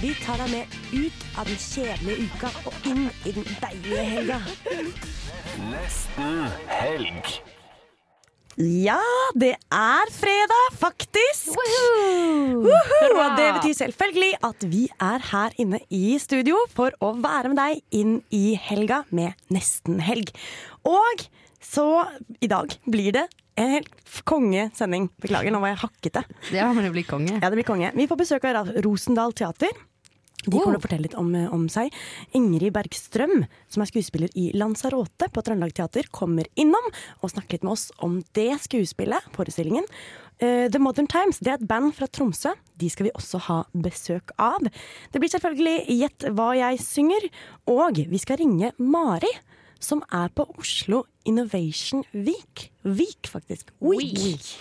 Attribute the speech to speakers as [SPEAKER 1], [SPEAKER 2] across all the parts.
[SPEAKER 1] Vi tar deg med ut av den kjedelige uka og inn i den deilige helga. Ja, det er fredag, faktisk. Woohoo! Og det betyr selvfølgelig at vi er her inne i studio for å være med deg inn i helga med Nesten helg. Og så i dag blir det en helt kongesending. Beklager, nå var jeg hakkete.
[SPEAKER 2] Det var det blir konge.
[SPEAKER 1] Ja, det blir konge. Vi får besøk av Ra- Rosendal Teater. De kommer til å fortelle litt om, eh, om seg. Ingrid Bergstrøm, som er skuespiller i Lanzarote på Trøndelag Teater, kommer innom og snakker litt med oss om det skuespillet, forestillingen. Eh, The Modern Times det er et band fra Tromsø. De skal vi også ha besøk av. Det blir selvfølgelig Gjett hva jeg synger, og vi skal ringe Mari, som er på Oslo Innovation Week. Week, faktisk. Week. Week.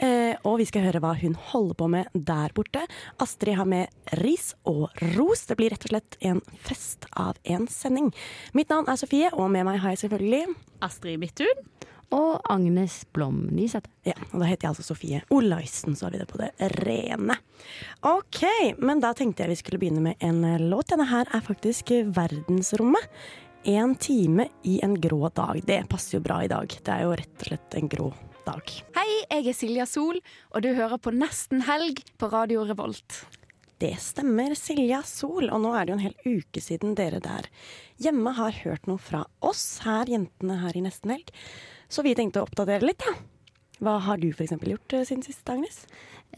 [SPEAKER 1] Eh, og vi skal høre hva hun holder på med der borte. Astrid har med ris og ros. Det blir rett og slett en fest av en sending. Mitt navn er Sofie, og med meg har jeg selvfølgelig
[SPEAKER 3] Astrid Midthun.
[SPEAKER 2] Og Agnes Blom Nysæter.
[SPEAKER 1] ja, og da heter jeg altså Sofie Olaisen, så har vi det på det rene. Ok, men da tenkte jeg vi skulle begynne med en eh, låt. Denne her er faktisk eh, Verdensrommet. En time i en grå dag. Det passer jo bra i dag. Det er jo rett og slett en grå dag.
[SPEAKER 2] Hei, jeg er Silja Sol, og du hører på Nesten helg på Radio Revolt.
[SPEAKER 1] Det stemmer, Silja Sol. Og nå er det jo en hel uke siden dere der hjemme har hørt noe fra oss her, jentene her i Nesten Helg. Så vi tenkte å oppdatere litt, da. Hva har du f.eks. gjort eh, siden sist, Agnes?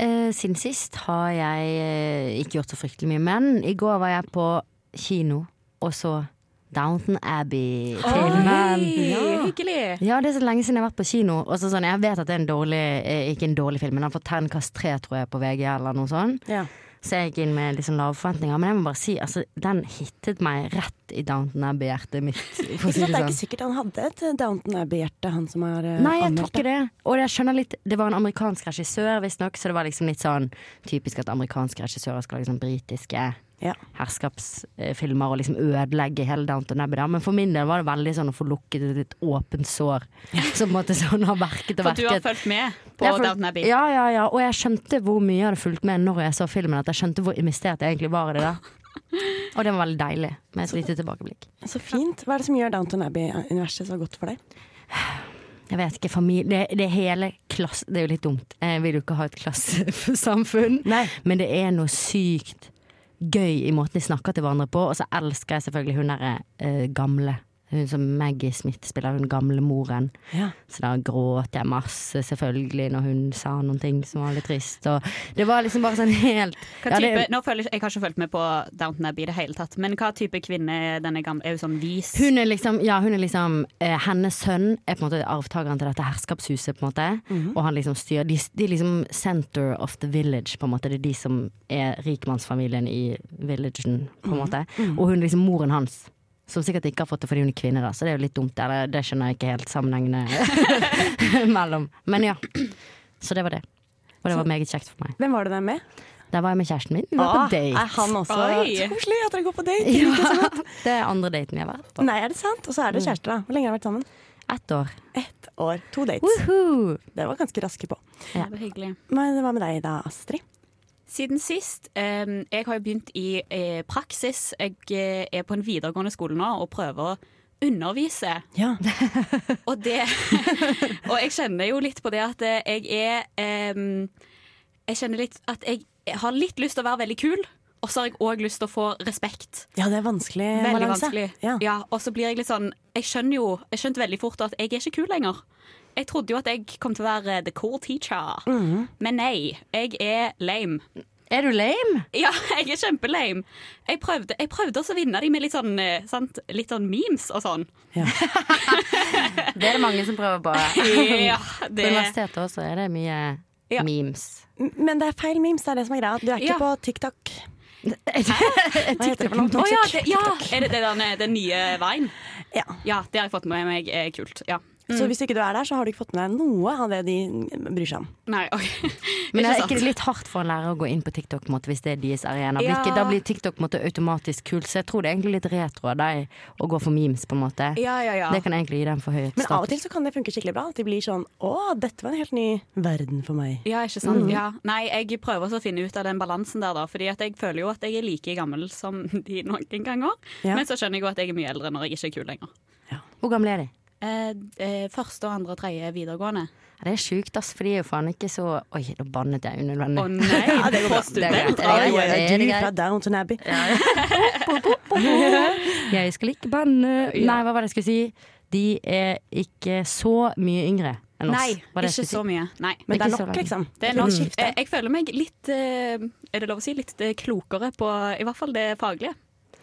[SPEAKER 2] Eh, siden sist har jeg eh, ikke gjort så fryktelig mye, men i går var jeg på kino, og så Downton Abbey-filmen.
[SPEAKER 3] Hyggelig!
[SPEAKER 2] Ja, det er så lenge siden jeg har vært på kino. Og så sånn, Jeg vet at det er en dårlig, eh, ikke en dårlig film, men han får terningkast tre, tror jeg, på VG eller noe sånt.
[SPEAKER 1] Ja.
[SPEAKER 2] Så jeg gikk inn med litt sånn lave forventninger. Men jeg må bare si, altså, den hittet meg rett i Downton Abbey-hjertet mitt. For å
[SPEAKER 1] Ikke
[SPEAKER 2] si det
[SPEAKER 1] sant, det er ikke
[SPEAKER 2] sånn.
[SPEAKER 1] sikkert han hadde et eh, Downton Abbey-hjerte, han som har eh,
[SPEAKER 2] Nei, jeg tror
[SPEAKER 1] anmeldt
[SPEAKER 2] ikke det. Og jeg skjønner litt Det var en amerikansk regissør, visstnok, så det var liksom litt sånn typisk at amerikanske regissører skal lage sånn britiske
[SPEAKER 1] Ja.
[SPEAKER 2] herskapsfilmer og liksom ødelegge hele Downton Abbey. da. Men for min del var det veldig sånn å få lukket et litt åpent sår, som på en måte sånn har verket og
[SPEAKER 3] For du har
[SPEAKER 2] verket.
[SPEAKER 3] fulgt med på
[SPEAKER 2] Jeg føl-
[SPEAKER 3] Downton Abbey.
[SPEAKER 2] Ja, ja, ja. Og jeg skjønte hvor mye jeg hadde fulgt med når jeg så filmen. At jeg skjønte hvor investert jeg egentlig var i det. da Og det var veldig deilig, med et lite tilbakeblikk.
[SPEAKER 1] Så fint. Hva er det som gjør Downton Abbey-universet så godt for deg?
[SPEAKER 2] Jeg vet ikke, familie Det, det er hele klasse Det er jo litt dumt. Jeg vil jo ikke ha et klassesamfunn.
[SPEAKER 1] Nei.
[SPEAKER 2] Men det er noe sykt gøy i måten de snakker til hverandre på. Og så elsker jeg selvfølgelig hun derre eh, gamle. Hun som Maggie Smith spiller, hun gamle moren.
[SPEAKER 1] Ja.
[SPEAKER 2] Så da gråt jeg masse, selvfølgelig, når hun sa noen ting som var litt trist. Og det var liksom bare sånn helt
[SPEAKER 3] Hva
[SPEAKER 2] Ja,
[SPEAKER 3] type,
[SPEAKER 2] det-
[SPEAKER 3] nå føler jeg, jeg har ikke fulgt med på Downton Abbey i det hele tatt, men hva type kvinne er denne gamle? Er hun sånn vis?
[SPEAKER 2] Hun er liksom, ja, hun er liksom eh, Hennes sønn er på en måte arvtakeren til dette herskapshuset, på en måte.
[SPEAKER 1] Mhm.
[SPEAKER 2] Og han liksom styrer de, de er liksom center of the village, på en måte. Det er de som er rikmannsfamilien i villagen, på en
[SPEAKER 1] Mhm.
[SPEAKER 2] måte. Og hun er liksom moren hans. Som sikkert ikke har fått det fordi hun er kvinne, da. så det er jo litt dumt. Eller, det skjønner jeg ikke helt sammenhengene mellom. Men ja. Så det var det. Og det var meget kjekt for meg.
[SPEAKER 1] Hvem var du der med? Ah,
[SPEAKER 2] Der var jeg med kjæresten min. Vi var på date.
[SPEAKER 1] Er han også
[SPEAKER 3] Oi.
[SPEAKER 1] Så koselig at dere går på date?
[SPEAKER 2] Ja, det er andre daten vi har vært på.
[SPEAKER 1] Nei, er det sant? Og så er dere kjærester, da. Hvor lenge har dere vært sammen?
[SPEAKER 2] Ett år.
[SPEAKER 1] Ett år. To dates.
[SPEAKER 2] Woohoo!
[SPEAKER 1] Det var ganske raske på.
[SPEAKER 2] Ja.
[SPEAKER 3] Det var hyggelig.
[SPEAKER 1] Men hva med deg da, Astrid?
[SPEAKER 3] Siden sist, ehm, jeg har jo begynt i eh, praksis. Jeg eh, er på en videregående skole nå og prøver å undervise.
[SPEAKER 1] Ja.
[SPEAKER 3] Og, det, og jeg kjenner jo litt på det at eh, jeg er ehm, Jeg kjenner litt at jeg har litt lyst til å være veldig kul, og så har jeg òg lyst til å få respekt.
[SPEAKER 1] Ja, det er vanskelig
[SPEAKER 2] Eh,
[SPEAKER 3] Veldig
[SPEAKER 1] balanse.
[SPEAKER 3] vanskelig.
[SPEAKER 1] Ja.
[SPEAKER 3] Ja. og så blir jeg litt sånn Jeg skjønner jo Jeg skjønte veldig fort at jeg er ikke kul lenger. Jeg trodde jo at jeg kom til å være the cool teacher,
[SPEAKER 2] Mhm.
[SPEAKER 3] men nei. Jeg er lame.
[SPEAKER 2] Er du lame?
[SPEAKER 3] Ja, jeg er kjempelame. Jeg prøvde, jeg prøvde også å vinne de med litt sånn, eh, sant? Litt sånn memes og sånn.
[SPEAKER 2] Det er det mange som prøver på.
[SPEAKER 3] Ja,
[SPEAKER 2] På
[SPEAKER 3] det
[SPEAKER 2] universitetet også er det mye
[SPEAKER 3] Ja.
[SPEAKER 2] memes.
[SPEAKER 1] M- Men det er feil memes, det er det som er greia. Du er ikke
[SPEAKER 3] Ja.
[SPEAKER 1] på TikTok.
[SPEAKER 2] Hva
[SPEAKER 1] heter det for noe?
[SPEAKER 3] Å ja, det, ja. Er det, det den, den nye veien?
[SPEAKER 1] Ja.
[SPEAKER 3] Ja, det har jeg fått med meg. Er kult. Ja.
[SPEAKER 1] Så hvis ikke du er der, så har du ikke fått med deg noe av det de bryr seg om.
[SPEAKER 3] Nei, OK.
[SPEAKER 2] Men
[SPEAKER 3] Ikke
[SPEAKER 2] er ikke
[SPEAKER 3] sant.
[SPEAKER 2] det litt hardt for en lærer å gå inn på TikTok på en måte, hvis det er deres arena? Blir
[SPEAKER 3] Ja.
[SPEAKER 2] ikke- Da blir TikTok på en måte, automatisk kult, så jeg tror det er egentlig litt retro av deg å gå for memes, på en måte.
[SPEAKER 3] Ja, ja, ja.
[SPEAKER 2] Det kan egentlig gi dem forhøyet
[SPEAKER 1] Men av og til
[SPEAKER 2] status.
[SPEAKER 1] så kan det funke skikkelig bra. At de blir sånn Å, dette var en helt ny verden for meg.
[SPEAKER 3] Ja, ikke sant.
[SPEAKER 1] Mm.
[SPEAKER 3] Ja. Nei, jeg prøver også å finne ut av den balansen der, da. Fordi at jeg føler jo at jeg er like gammel som de noen ganger.
[SPEAKER 1] Ja.
[SPEAKER 3] Men så skjønner jeg jo at jeg er mye eldre når jeg ikke er kul lenger.
[SPEAKER 2] Hvor gamle er de?
[SPEAKER 3] Eh, eh, første, og andre og tredje videregående.
[SPEAKER 2] Ja, Det er sjukt, ass, for de er jo faen ikke så Oi, da bannet jeg unødvendig.
[SPEAKER 3] Å nei! det går
[SPEAKER 2] greit.
[SPEAKER 3] student.
[SPEAKER 2] Ja, ja, ja,
[SPEAKER 1] Er
[SPEAKER 2] ja, det er
[SPEAKER 1] du
[SPEAKER 2] greit.
[SPEAKER 1] fra Downton Abbey?
[SPEAKER 2] Jeg skal ikke banne Nei, hva var det jeg skulle si? De er ikke så mye yngre enn oss.
[SPEAKER 3] Nei,
[SPEAKER 2] Var det jeg
[SPEAKER 3] ikke
[SPEAKER 2] skulle
[SPEAKER 3] så
[SPEAKER 2] si?
[SPEAKER 3] mye. Nei.
[SPEAKER 1] Men det
[SPEAKER 2] Ikke
[SPEAKER 1] er
[SPEAKER 2] så
[SPEAKER 1] nok,
[SPEAKER 2] lenge.
[SPEAKER 1] liksom.
[SPEAKER 3] Det er nok,
[SPEAKER 1] Mm.
[SPEAKER 3] eh, jeg føler meg litt eh, Er det lov å si? Litt eh, klokere på i hvert fall det faglige.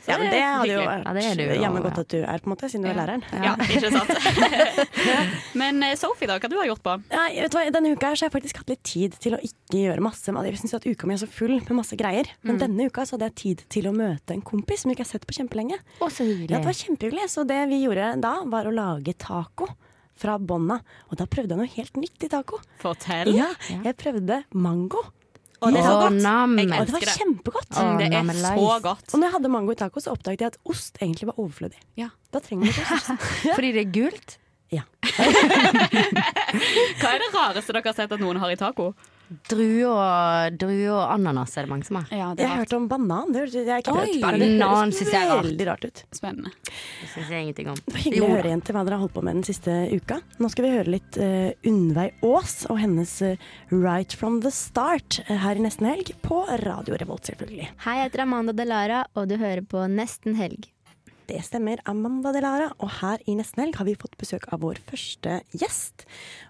[SPEAKER 3] Så
[SPEAKER 1] Ja, men det hadde jo
[SPEAKER 3] hyggelig.
[SPEAKER 1] vært
[SPEAKER 2] Ja, det er du jo,
[SPEAKER 1] jammen godt
[SPEAKER 2] ja.
[SPEAKER 1] at du er, på en måte, siden du er læreren.
[SPEAKER 3] Ja, ikke sant. men eh, Sophie, da, hva du har gjort på?
[SPEAKER 1] Nei, vet du hva, Denne uka her så har jeg faktisk hatt litt tid til å ikke gjøre masse. med det. Jeg synes at uka mi er så full med masse greier.
[SPEAKER 3] Mm.
[SPEAKER 1] Men denne uka så hadde jeg tid til å møte en kompis som jeg ikke har sett på kjempelenge.
[SPEAKER 2] Å, så
[SPEAKER 1] Ja, det
[SPEAKER 2] hyggelig.
[SPEAKER 1] var kjempehyggelig. Så det vi gjorde da, var å lage taco fra bånna. Og da prøvde jeg noe helt nytt i taco.
[SPEAKER 3] Fortell.
[SPEAKER 1] Ja, jeg prøvde mango.
[SPEAKER 3] Og det er så
[SPEAKER 2] Å,
[SPEAKER 3] godt.
[SPEAKER 2] nam.
[SPEAKER 3] Jeg
[SPEAKER 1] Og det
[SPEAKER 3] elsker
[SPEAKER 1] var
[SPEAKER 3] det.
[SPEAKER 1] kjempegodt.
[SPEAKER 2] Å,
[SPEAKER 1] Mm.
[SPEAKER 3] Mm, Det er
[SPEAKER 2] nam,
[SPEAKER 3] så
[SPEAKER 2] leis.
[SPEAKER 3] godt.
[SPEAKER 1] Og når jeg hadde mango i taco, så oppdaget jeg at ost egentlig var overflødig.
[SPEAKER 3] Ja.
[SPEAKER 1] Da trenger man ikke ost.
[SPEAKER 2] Fordi det er gult?
[SPEAKER 1] Ja.
[SPEAKER 3] Hva er det rareste dere har sett at noen har i taco?
[SPEAKER 2] Drue og, drue og ananas er det mange som har.
[SPEAKER 3] Ja, det
[SPEAKER 1] Jeg
[SPEAKER 3] er
[SPEAKER 1] hørte om banan. Det hørtes- jeg har ikke
[SPEAKER 3] Oi,
[SPEAKER 1] prøvd.
[SPEAKER 2] banan
[SPEAKER 1] Det
[SPEAKER 2] synes jeg er rart.
[SPEAKER 1] høres veldig rart ut.
[SPEAKER 3] spennende.
[SPEAKER 2] Det syns jeg ingenting om.
[SPEAKER 1] Det var hyggelig å høre igjen til hva dere har holdt på med den siste uka. Nå skal vi høre litt eh, Unnveig Aas og hennes eh, Right From The Start eh, her i nesten helg på Radio Revolt, selvfølgelig.
[SPEAKER 4] Hei, jeg heter Amanda Delara, og du hører på Nesten helg.
[SPEAKER 1] Det stemmer, Amanda Delara. Og her i Nesten Helg har vi fått besøk av vår første gjest.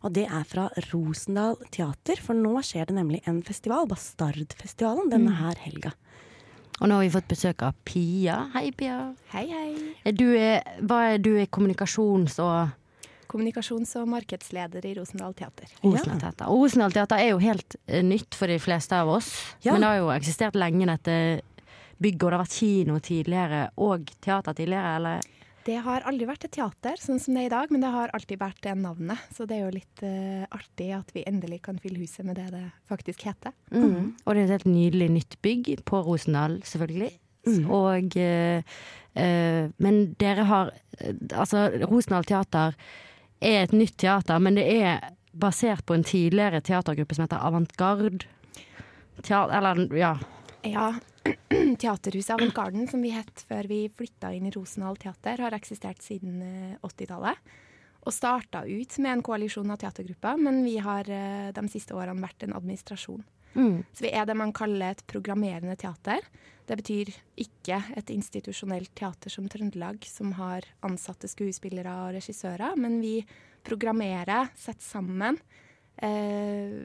[SPEAKER 1] Og det er fra Rosendal Teater, for nå skjer det nemlig en festival, Bastardfestivalen, denne
[SPEAKER 4] Mm.
[SPEAKER 1] her helga.
[SPEAKER 2] Og nå har vi fått besøk av Pia. Hei, Pia.
[SPEAKER 5] Hei, hei.
[SPEAKER 2] Er Du er, hva er du er kommunikasjons- og
[SPEAKER 5] Kommunikasjons- og markedsleder i Rosendal Teater.
[SPEAKER 2] Rosendal Teater. Og Rosendal Teater er jo helt eh, nytt for de fleste av oss.
[SPEAKER 1] Ja.
[SPEAKER 2] Men det har jo eksistert lenge, dette bygget. Og det har vært kino tidligere, og teater tidligere, eller?
[SPEAKER 5] Det har aldri vært et teater sånn som det er i dag, men det har alltid vært det navnet. Så det er jo litt eh, artig at vi endelig kan fylle huset med det det faktisk heter.
[SPEAKER 2] Mm. Og det er et helt nydelig nytt bygg på Rosendal, selvfølgelig. Og eh, eh, Men dere har eh, Altså, Rosendal Teater er et nytt teater, men det er basert på en tidligere teatergruppe som heter Avantgarde. Tea- Eller, ja.
[SPEAKER 5] Ja, Teaterhuset Avantgarden, som vi het før vi flytta inn i Rosendal Teater, har eksistert siden eh, 80-tallet. Og starta ut med en koalisjon av teatergrupper, men vi har eh, de siste årene vært en administrasjon. Så vi er det man kaller et programmerende teater. Det betyr ikke et institusjonelt teater som Trøndelag, som har ansatte skuespillere og regissører, men vi programmerer, setter sammen. Eh,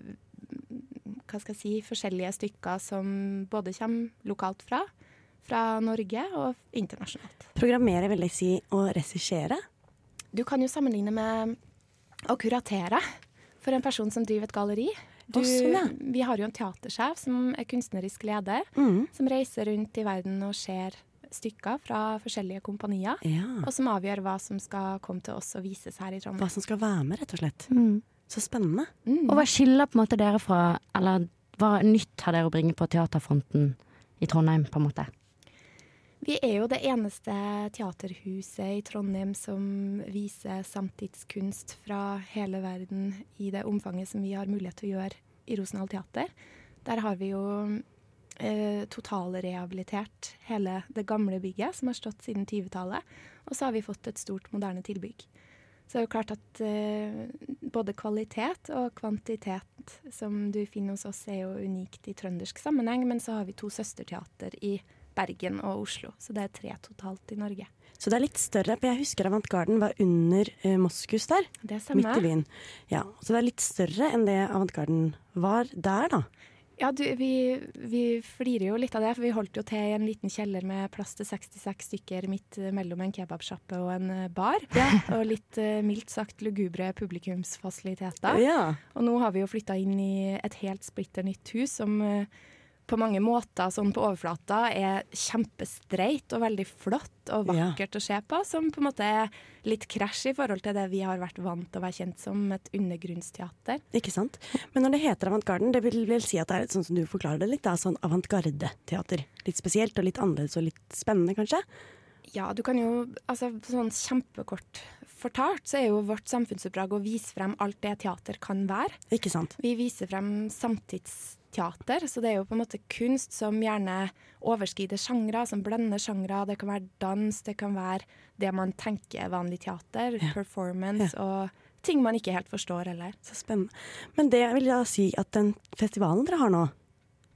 [SPEAKER 5] hva skal jeg si, forskjellige stykker som både kommer lokalt fra, fra Norge og internasjonalt.
[SPEAKER 1] Programmere, vil jeg si, og regissere.
[SPEAKER 5] Du kan jo sammenligne med å kuratere for en person som driver et galleri. Du,
[SPEAKER 1] Å, sånn, ja.
[SPEAKER 5] Vi har jo en teatersjef som er kunstnerisk leder, som reiser rundt i verden og ser stykker fra forskjellige kompanier.
[SPEAKER 1] Ja.
[SPEAKER 5] Og som avgjør hva som skal komme til oss og vises her i
[SPEAKER 1] Hva
[SPEAKER 5] Trondheim.
[SPEAKER 1] som skal være med, rett og slett.
[SPEAKER 5] Mm.
[SPEAKER 1] Så spennende.
[SPEAKER 2] Og hva skiller på en måte dere fra Eller hva nytt har dere å bringe på teaterfronten i Trondheim, på en måte?
[SPEAKER 5] Vi er jo det eneste teaterhuset i Trondheim som viser samtidskunst fra hele verden i det omfanget som vi har mulighet til å gjøre i Rosendal Teater. Der har vi jo eh, totalrehabilitert hele det gamle bygget, som har stått siden 20-tallet. Og så har vi fått et stort, moderne tilbygg. Så det er jo klart at eh, både kvalitet og kvantitet som du finner hos oss, er jo unikt i trøndersk sammenheng. Men så har vi to søsterteater i Bergen og Oslo, så det er tre totalt i Norge.
[SPEAKER 1] Så det er litt større, for jeg husker Avantgarden var under eh, Moskus der,
[SPEAKER 5] Det er
[SPEAKER 1] midt i
[SPEAKER 5] samme.
[SPEAKER 1] byen. Ja, så det er litt større enn det Avantgarden var der, da.
[SPEAKER 5] Ja, du, vi, vi flirer jo litt av det, for vi holdt jo til i en liten kjeller med plass til 66 stykker midt eh, mellom en kebabsjappe og en eh, bar. Og litt eh, mildt sagt lugubre publikumsfasiliteter.
[SPEAKER 1] Ja.
[SPEAKER 5] Og nå har vi jo flytta inn i et helt splitter nytt hus som eh, på mange måter sånn på overflata er kjempestreit og veldig flott og vakkert å se på, som på en måte er litt krasj i forhold til det vi har vært vant til å være kjent som, et undergrunnsteater.
[SPEAKER 1] Ikke sant? Men når det heter avantgarden, det vil vel si at det er sånn som du forklarer det litt, da, sånn avantgarde-teater. Litt spesielt og litt annerledes og litt spennende, kanskje?
[SPEAKER 5] Ja, du kan jo altså sånn kjempekort fortalt så er jo vårt samfunnsoppdrag å vise frem alt det teater kan være.
[SPEAKER 1] Ikke sant?
[SPEAKER 5] Vi viser frem samtidsteater, så det er jo på en måte kunst som gjerne overskrider sjangre, som blender sjangre. Det kan være dans, det kan være det man tenker er vanlig teater, ja. performance ja. og ting man ikke helt forstår heller.
[SPEAKER 1] Så spennende. Men det vil jeg si at den festivalen dere har nå,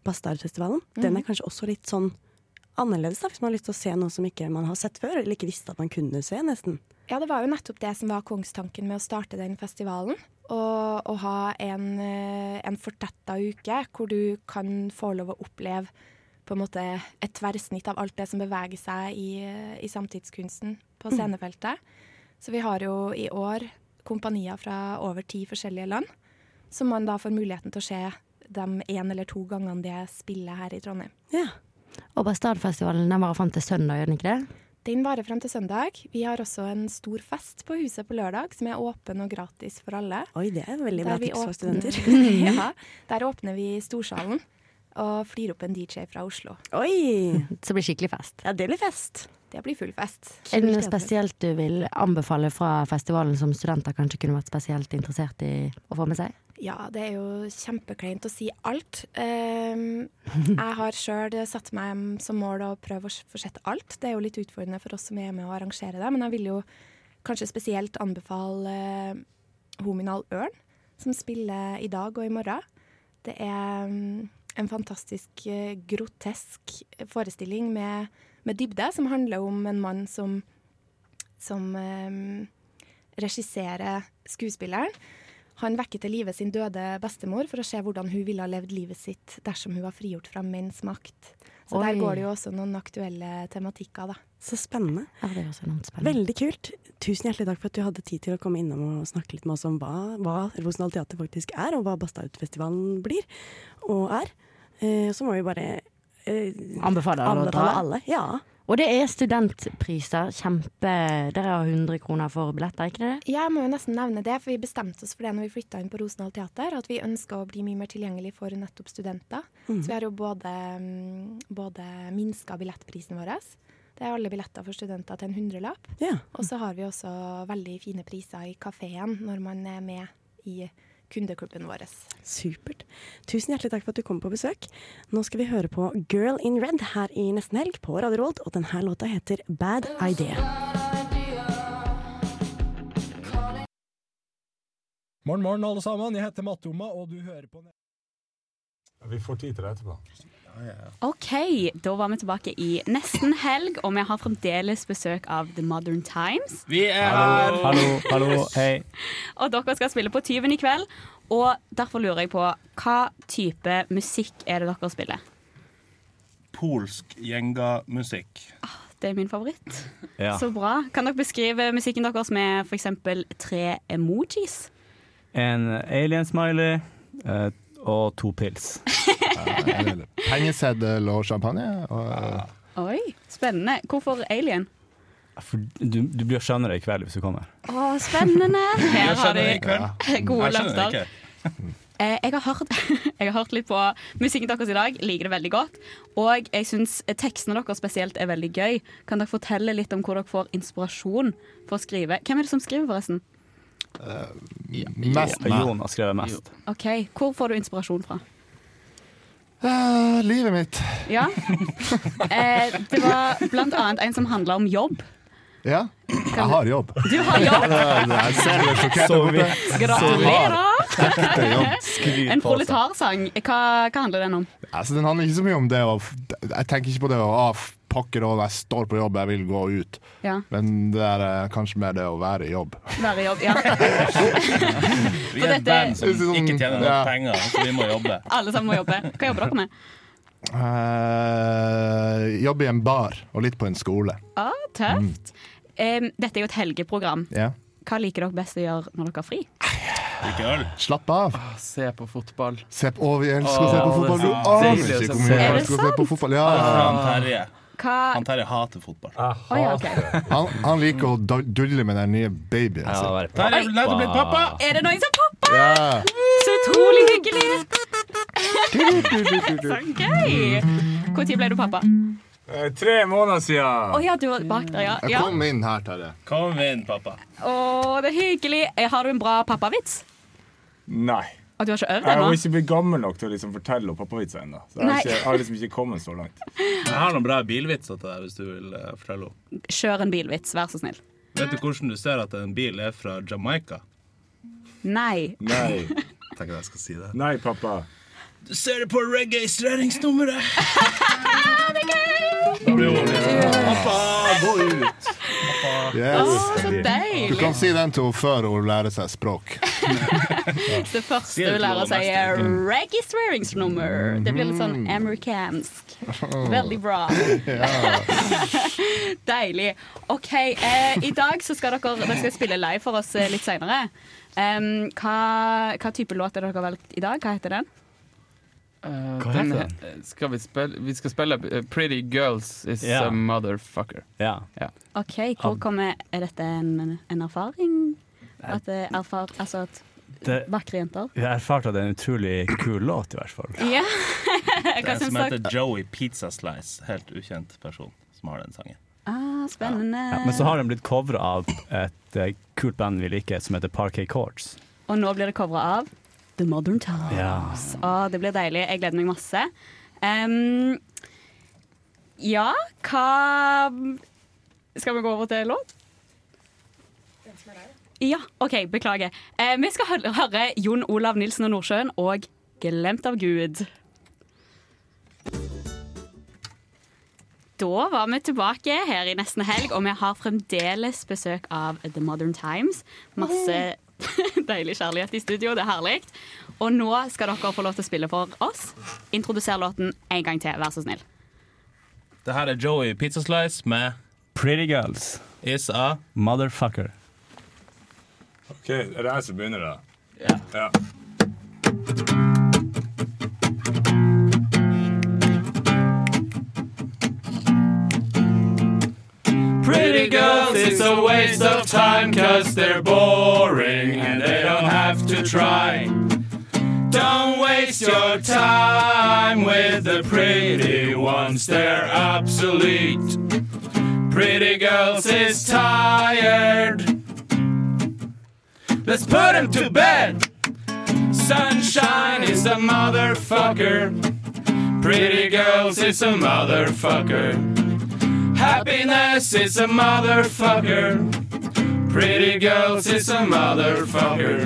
[SPEAKER 1] Bastardfestivalen, mm. den er kanskje også litt sånn annerledes da, hvis man har lyst til å se noe som ikke man har sett før, eller ikke visste at man kunne se, nesten.
[SPEAKER 5] Ja, det var jo nettopp det som var kongstanken med å starte den festivalen. Og, og ha en, eh, en fortetta uke hvor du kan få lov å oppleve på en måte et tverrsnitt av alt det som beveger seg i, eh, i samtidskunsten på scenefeltet. Mm. Så vi har jo i år kompanier fra over ti forskjellige land, som man da får muligheten til å se de én eller to gangene de spiller her i Trondheim.
[SPEAKER 1] Ja.
[SPEAKER 2] Og Bastardfestivalen den varer fram til søndag, gjør den ikke det?
[SPEAKER 5] Den varer frem til søndag. Vi har også en stor fest på huset på lørdag, som er åpen og gratis for alle.
[SPEAKER 1] Oi, det er veldig bra tips for studenter.
[SPEAKER 5] ja, der åpner vi Storsalen og flir opp en DJ fra Oslo.
[SPEAKER 1] Oi!
[SPEAKER 2] Så det blir skikkelig fest.
[SPEAKER 1] Ja, det blir fest.
[SPEAKER 5] Det blir full fest.
[SPEAKER 2] Er det noe spesielt du vil anbefale fra festivalen som studenter kanskje kunne vært spesielt interessert i å få med seg?
[SPEAKER 5] Ja, det er jo kjempekleint å si alt. Ehm, jeg har sjøl satt meg som mål å prøve å få sett alt. Det er jo litt utfordrende for oss som er med å arrangere det, men jeg vil jo kanskje spesielt anbefale Hominal Ørn, som spiller i dag og i morgen. Det er mm, en fantastisk eh, grotesk forestilling med, med dybde, som handler om en mann som, som eh, regisserer skuespilleren. Han vekker til live sin døde bestemor for å se hvordan hun ville ha levd livet sitt dersom hun var frigjort fra menns makt. Så Oi. der går det jo også noen aktuelle tematikker, da.
[SPEAKER 1] Så spennende.
[SPEAKER 2] Ja, det er også enormt spennende.
[SPEAKER 1] Veldig kult. Tusen hjertelig takk for at du hadde tid til å komme innom og snakke litt med oss om hva, hva Rosendal Teater faktisk er, og hva Bastardfestivalen blir og er. Eh, så må vi bare eh,
[SPEAKER 2] Anbefale alle å dra.
[SPEAKER 1] Alle. Ja.
[SPEAKER 2] Og det er studentpriser. Kjempe Dere har 100 kroner for billetter, ikke det?
[SPEAKER 5] Ja, jeg må jo nesten nevne det, for vi bestemte oss for det når vi flytta inn på Rosendal Teater, at vi ønska å bli mye mer tilgjengelig for nettopp studenter. Mm. Så vi har jo både, mm, både minska billettprisen vår. Det er alle billetter for studenter til en hundrelapp.
[SPEAKER 1] Yeah.
[SPEAKER 5] Og så har vi også veldig fine priser i kafeen når man er med i kundeklubben vår.
[SPEAKER 1] Supert. Tusen hjertelig takk for at du kom på besøk. Nå skal vi høre på Girl in Red her i nesten helg på Radio Rolt, og denne låta heter Bad Idea.
[SPEAKER 6] Morgen, morgen, alle sammen. Jeg heter Matoma, og du hører på
[SPEAKER 7] Vi får tid til det etterpå.
[SPEAKER 3] OK, da var vi tilbake i nesten helg, og vi har fremdeles besøk av The Modern Times.
[SPEAKER 8] Vi er her!
[SPEAKER 6] Hallo, hallo, hei.
[SPEAKER 3] og dere skal spille på Tyven i kveld. Og derfor lurer jeg på hva type musikk er det dere spiller?
[SPEAKER 8] Polsk gjengamusikk.
[SPEAKER 3] Ah, det er min favoritt.
[SPEAKER 8] Ja.
[SPEAKER 3] Så bra. Kan dere beskrive musikken deres med f.eks. tre emojis?
[SPEAKER 8] En alien-smiley
[SPEAKER 9] eh,
[SPEAKER 8] uh, og to pils.
[SPEAKER 7] Pengeseddel og champagne. Og, ja.
[SPEAKER 3] Oi, spennende. Hvorfor alien?
[SPEAKER 8] For du, du, blir skjønnere i kveld hvis du kommer.
[SPEAKER 3] Å, spennende! Her har de gode
[SPEAKER 8] jeg
[SPEAKER 3] løfter. Eh, Jeg, jeg, har hørt, jeg har hørt litt på musikken deres i dag, liker det veldig godt. Og jeg syns tekstene deres spesielt er veldig gøy. Kan dere fortelle litt om hvor dere får inspirasjon for å skrive? Hvem er det som skriver, forresten?
[SPEAKER 7] Uh, ja. Mest
[SPEAKER 8] meg. Jon har skrevet mest.
[SPEAKER 3] Ok, Hvor får du inspirasjon fra?
[SPEAKER 7] Uh, livet mitt.
[SPEAKER 3] Ja. Eh, det var blant annet en som handla om jobb.
[SPEAKER 7] Ja. Jeg har jobb.
[SPEAKER 3] Du har jobb.
[SPEAKER 7] Jeg ser det sjokkert ut.
[SPEAKER 3] Gratulerer. En proletarsang. Hva, hva handler den om?
[SPEAKER 7] Altså, den handler ikke så mye om det å Jeg tenker ikke på det å ah, pakker over, jeg står på jobb, jeg vil gå ut.
[SPEAKER 3] Ja.
[SPEAKER 7] Men det er eh, kanskje mer det å være i jobb.
[SPEAKER 3] Være i jobb, ja.
[SPEAKER 8] vi er et band som ikke tjener nok ja. penger, så vi må jobbe.
[SPEAKER 3] Alle sammen må jobbe. Hva jobber dere med?
[SPEAKER 7] Uh, jobber i en bar, og litt på en skole.
[SPEAKER 3] Ah, tøft. Mm. Um, dette er jo et helgeprogram.
[SPEAKER 7] Yeah.
[SPEAKER 3] Hva liker dere best å gjøre når dere har fri?
[SPEAKER 8] Drikke øl.
[SPEAKER 7] Slapp av.
[SPEAKER 10] Se på fotball.
[SPEAKER 7] Se på, å, vi elsker å se på
[SPEAKER 10] Åh,
[SPEAKER 7] fotball. Du
[SPEAKER 10] det er så
[SPEAKER 7] aner
[SPEAKER 10] deilig å se
[SPEAKER 7] ikke hvor
[SPEAKER 10] på.
[SPEAKER 7] mye jeg
[SPEAKER 10] Er det
[SPEAKER 7] elsker å se på fotball. Ja, ja,
[SPEAKER 8] Han
[SPEAKER 7] ja.
[SPEAKER 8] Terje
[SPEAKER 3] Hva-
[SPEAKER 8] Han Terje hater fotball.
[SPEAKER 3] Å ja, ok.
[SPEAKER 7] Han, han liker å da- dulle med den nye babyen sin.
[SPEAKER 8] Terje er nettopp blitt pappa!
[SPEAKER 3] Er det noen som pappa?
[SPEAKER 7] Ja.
[SPEAKER 3] Så utrolig hyggelig! Så
[SPEAKER 11] Når
[SPEAKER 3] gøy! Når ble du pappa?
[SPEAKER 11] Tre måneder
[SPEAKER 3] Å
[SPEAKER 11] siden.
[SPEAKER 3] ja, du var bak der, ja. ja.
[SPEAKER 7] Kom inn her, Terje.
[SPEAKER 8] Kom inn, pappa.
[SPEAKER 3] Å, det er hyggelig. Eh, Har du en bra pappavits?
[SPEAKER 11] Nei.
[SPEAKER 3] Å, du har ikke
[SPEAKER 11] Jeg
[SPEAKER 3] øvd ennå?
[SPEAKER 11] har ikke blitt gammel nok til å liksom fortelle om pappavitser ennå. Så jeg
[SPEAKER 3] Nei.
[SPEAKER 11] har, ikke, jeg har liksom ikke kommet så langt.
[SPEAKER 8] Jeg har noen bra bilvitser til deg hvis du vil eh, fortelle henne.
[SPEAKER 3] Kjør en bilvits, vær så snill.
[SPEAKER 8] Vet du hvordan du ser at en bil er fra Jamaica?
[SPEAKER 3] Nei.
[SPEAKER 8] Tenk at jeg skal si det.
[SPEAKER 11] Nei, pappa.
[SPEAKER 8] Du ser det på registreringsnummeret.
[SPEAKER 7] Pappa, gå ut! Yes.
[SPEAKER 3] Å, så deilig.
[SPEAKER 7] Du kan si den til henne før hun lærer seg språk.
[SPEAKER 3] Det første du
[SPEAKER 7] det til
[SPEAKER 3] lærer
[SPEAKER 7] noen
[SPEAKER 3] seg,
[SPEAKER 7] neste
[SPEAKER 3] er
[SPEAKER 7] uke.
[SPEAKER 3] registreringsnummer. Det blir litt
[SPEAKER 11] Mm.
[SPEAKER 3] sånn amerikansk.
[SPEAKER 11] Oh.
[SPEAKER 3] Veldig bra. Deilig. OK, eh, i dag så skal dere, dere skal spille live for oss eh, litt seinere. hva, hva type låt er det dere har valgt i dag? Hva heter den?
[SPEAKER 10] Eh,
[SPEAKER 9] Hva
[SPEAKER 10] den
[SPEAKER 9] heter
[SPEAKER 10] he- Skal vi, spille, vi skal spille eh, 'Pretty Girls Is
[SPEAKER 9] Ja.
[SPEAKER 10] a Motherfucker'. Ja.
[SPEAKER 3] OK, hvor kommer Er dette en, en erfaring? At, eh, erfar, altså at
[SPEAKER 9] Det-
[SPEAKER 3] Vakre jenter?
[SPEAKER 9] Jeg erfarte at det er en utrolig kul låt, i hvert fall.
[SPEAKER 3] Ja.
[SPEAKER 8] Det er
[SPEAKER 3] Hva syns
[SPEAKER 8] en som
[SPEAKER 3] dere?
[SPEAKER 8] heter Joey Pizza Slice. Helt ukjent person som har den sangen.
[SPEAKER 3] Ah, spennende.
[SPEAKER 9] Ja, men så har den blitt covra av et eh, kult band vi liker, som heter Parquet Courts.
[SPEAKER 3] Og nå blir det covra av The Modern Times. Å, det blir deilig. Jeg gleder meg masse. Ehm, ja, hva Skal vi gå over til låt? Ja, OK, beklager. Eh, vi skal hø- høre Jon Olav Nilsen og Nordsjøen og 'Glemt av Gud'. Da var vi tilbake her i nesten helg, og vi har fremdeles besøk av The Modern Times. Masse deilig kjærlighet i studio, det er herlig. Og nå skal dere få lov til å spille for oss. Introduser låten en gang til, vær så snill.
[SPEAKER 8] Det her er Joey Pizza Slice med
[SPEAKER 9] Pretty Girls
[SPEAKER 8] Is a
[SPEAKER 9] Motherfucker.
[SPEAKER 11] Ok, Er det jeg som begynner, da? Ja.
[SPEAKER 10] Pretty girls, it's a waste of time, cause they're boring and they don't have to try. Don't waste your time with the pretty ones, they're obsolete. Pretty girls is tired. Let's put him to bed. Sunshine is a motherfucker. Pretty girls is a motherfucker. Happiness is a motherfucker. Pretty girls is a motherfucker.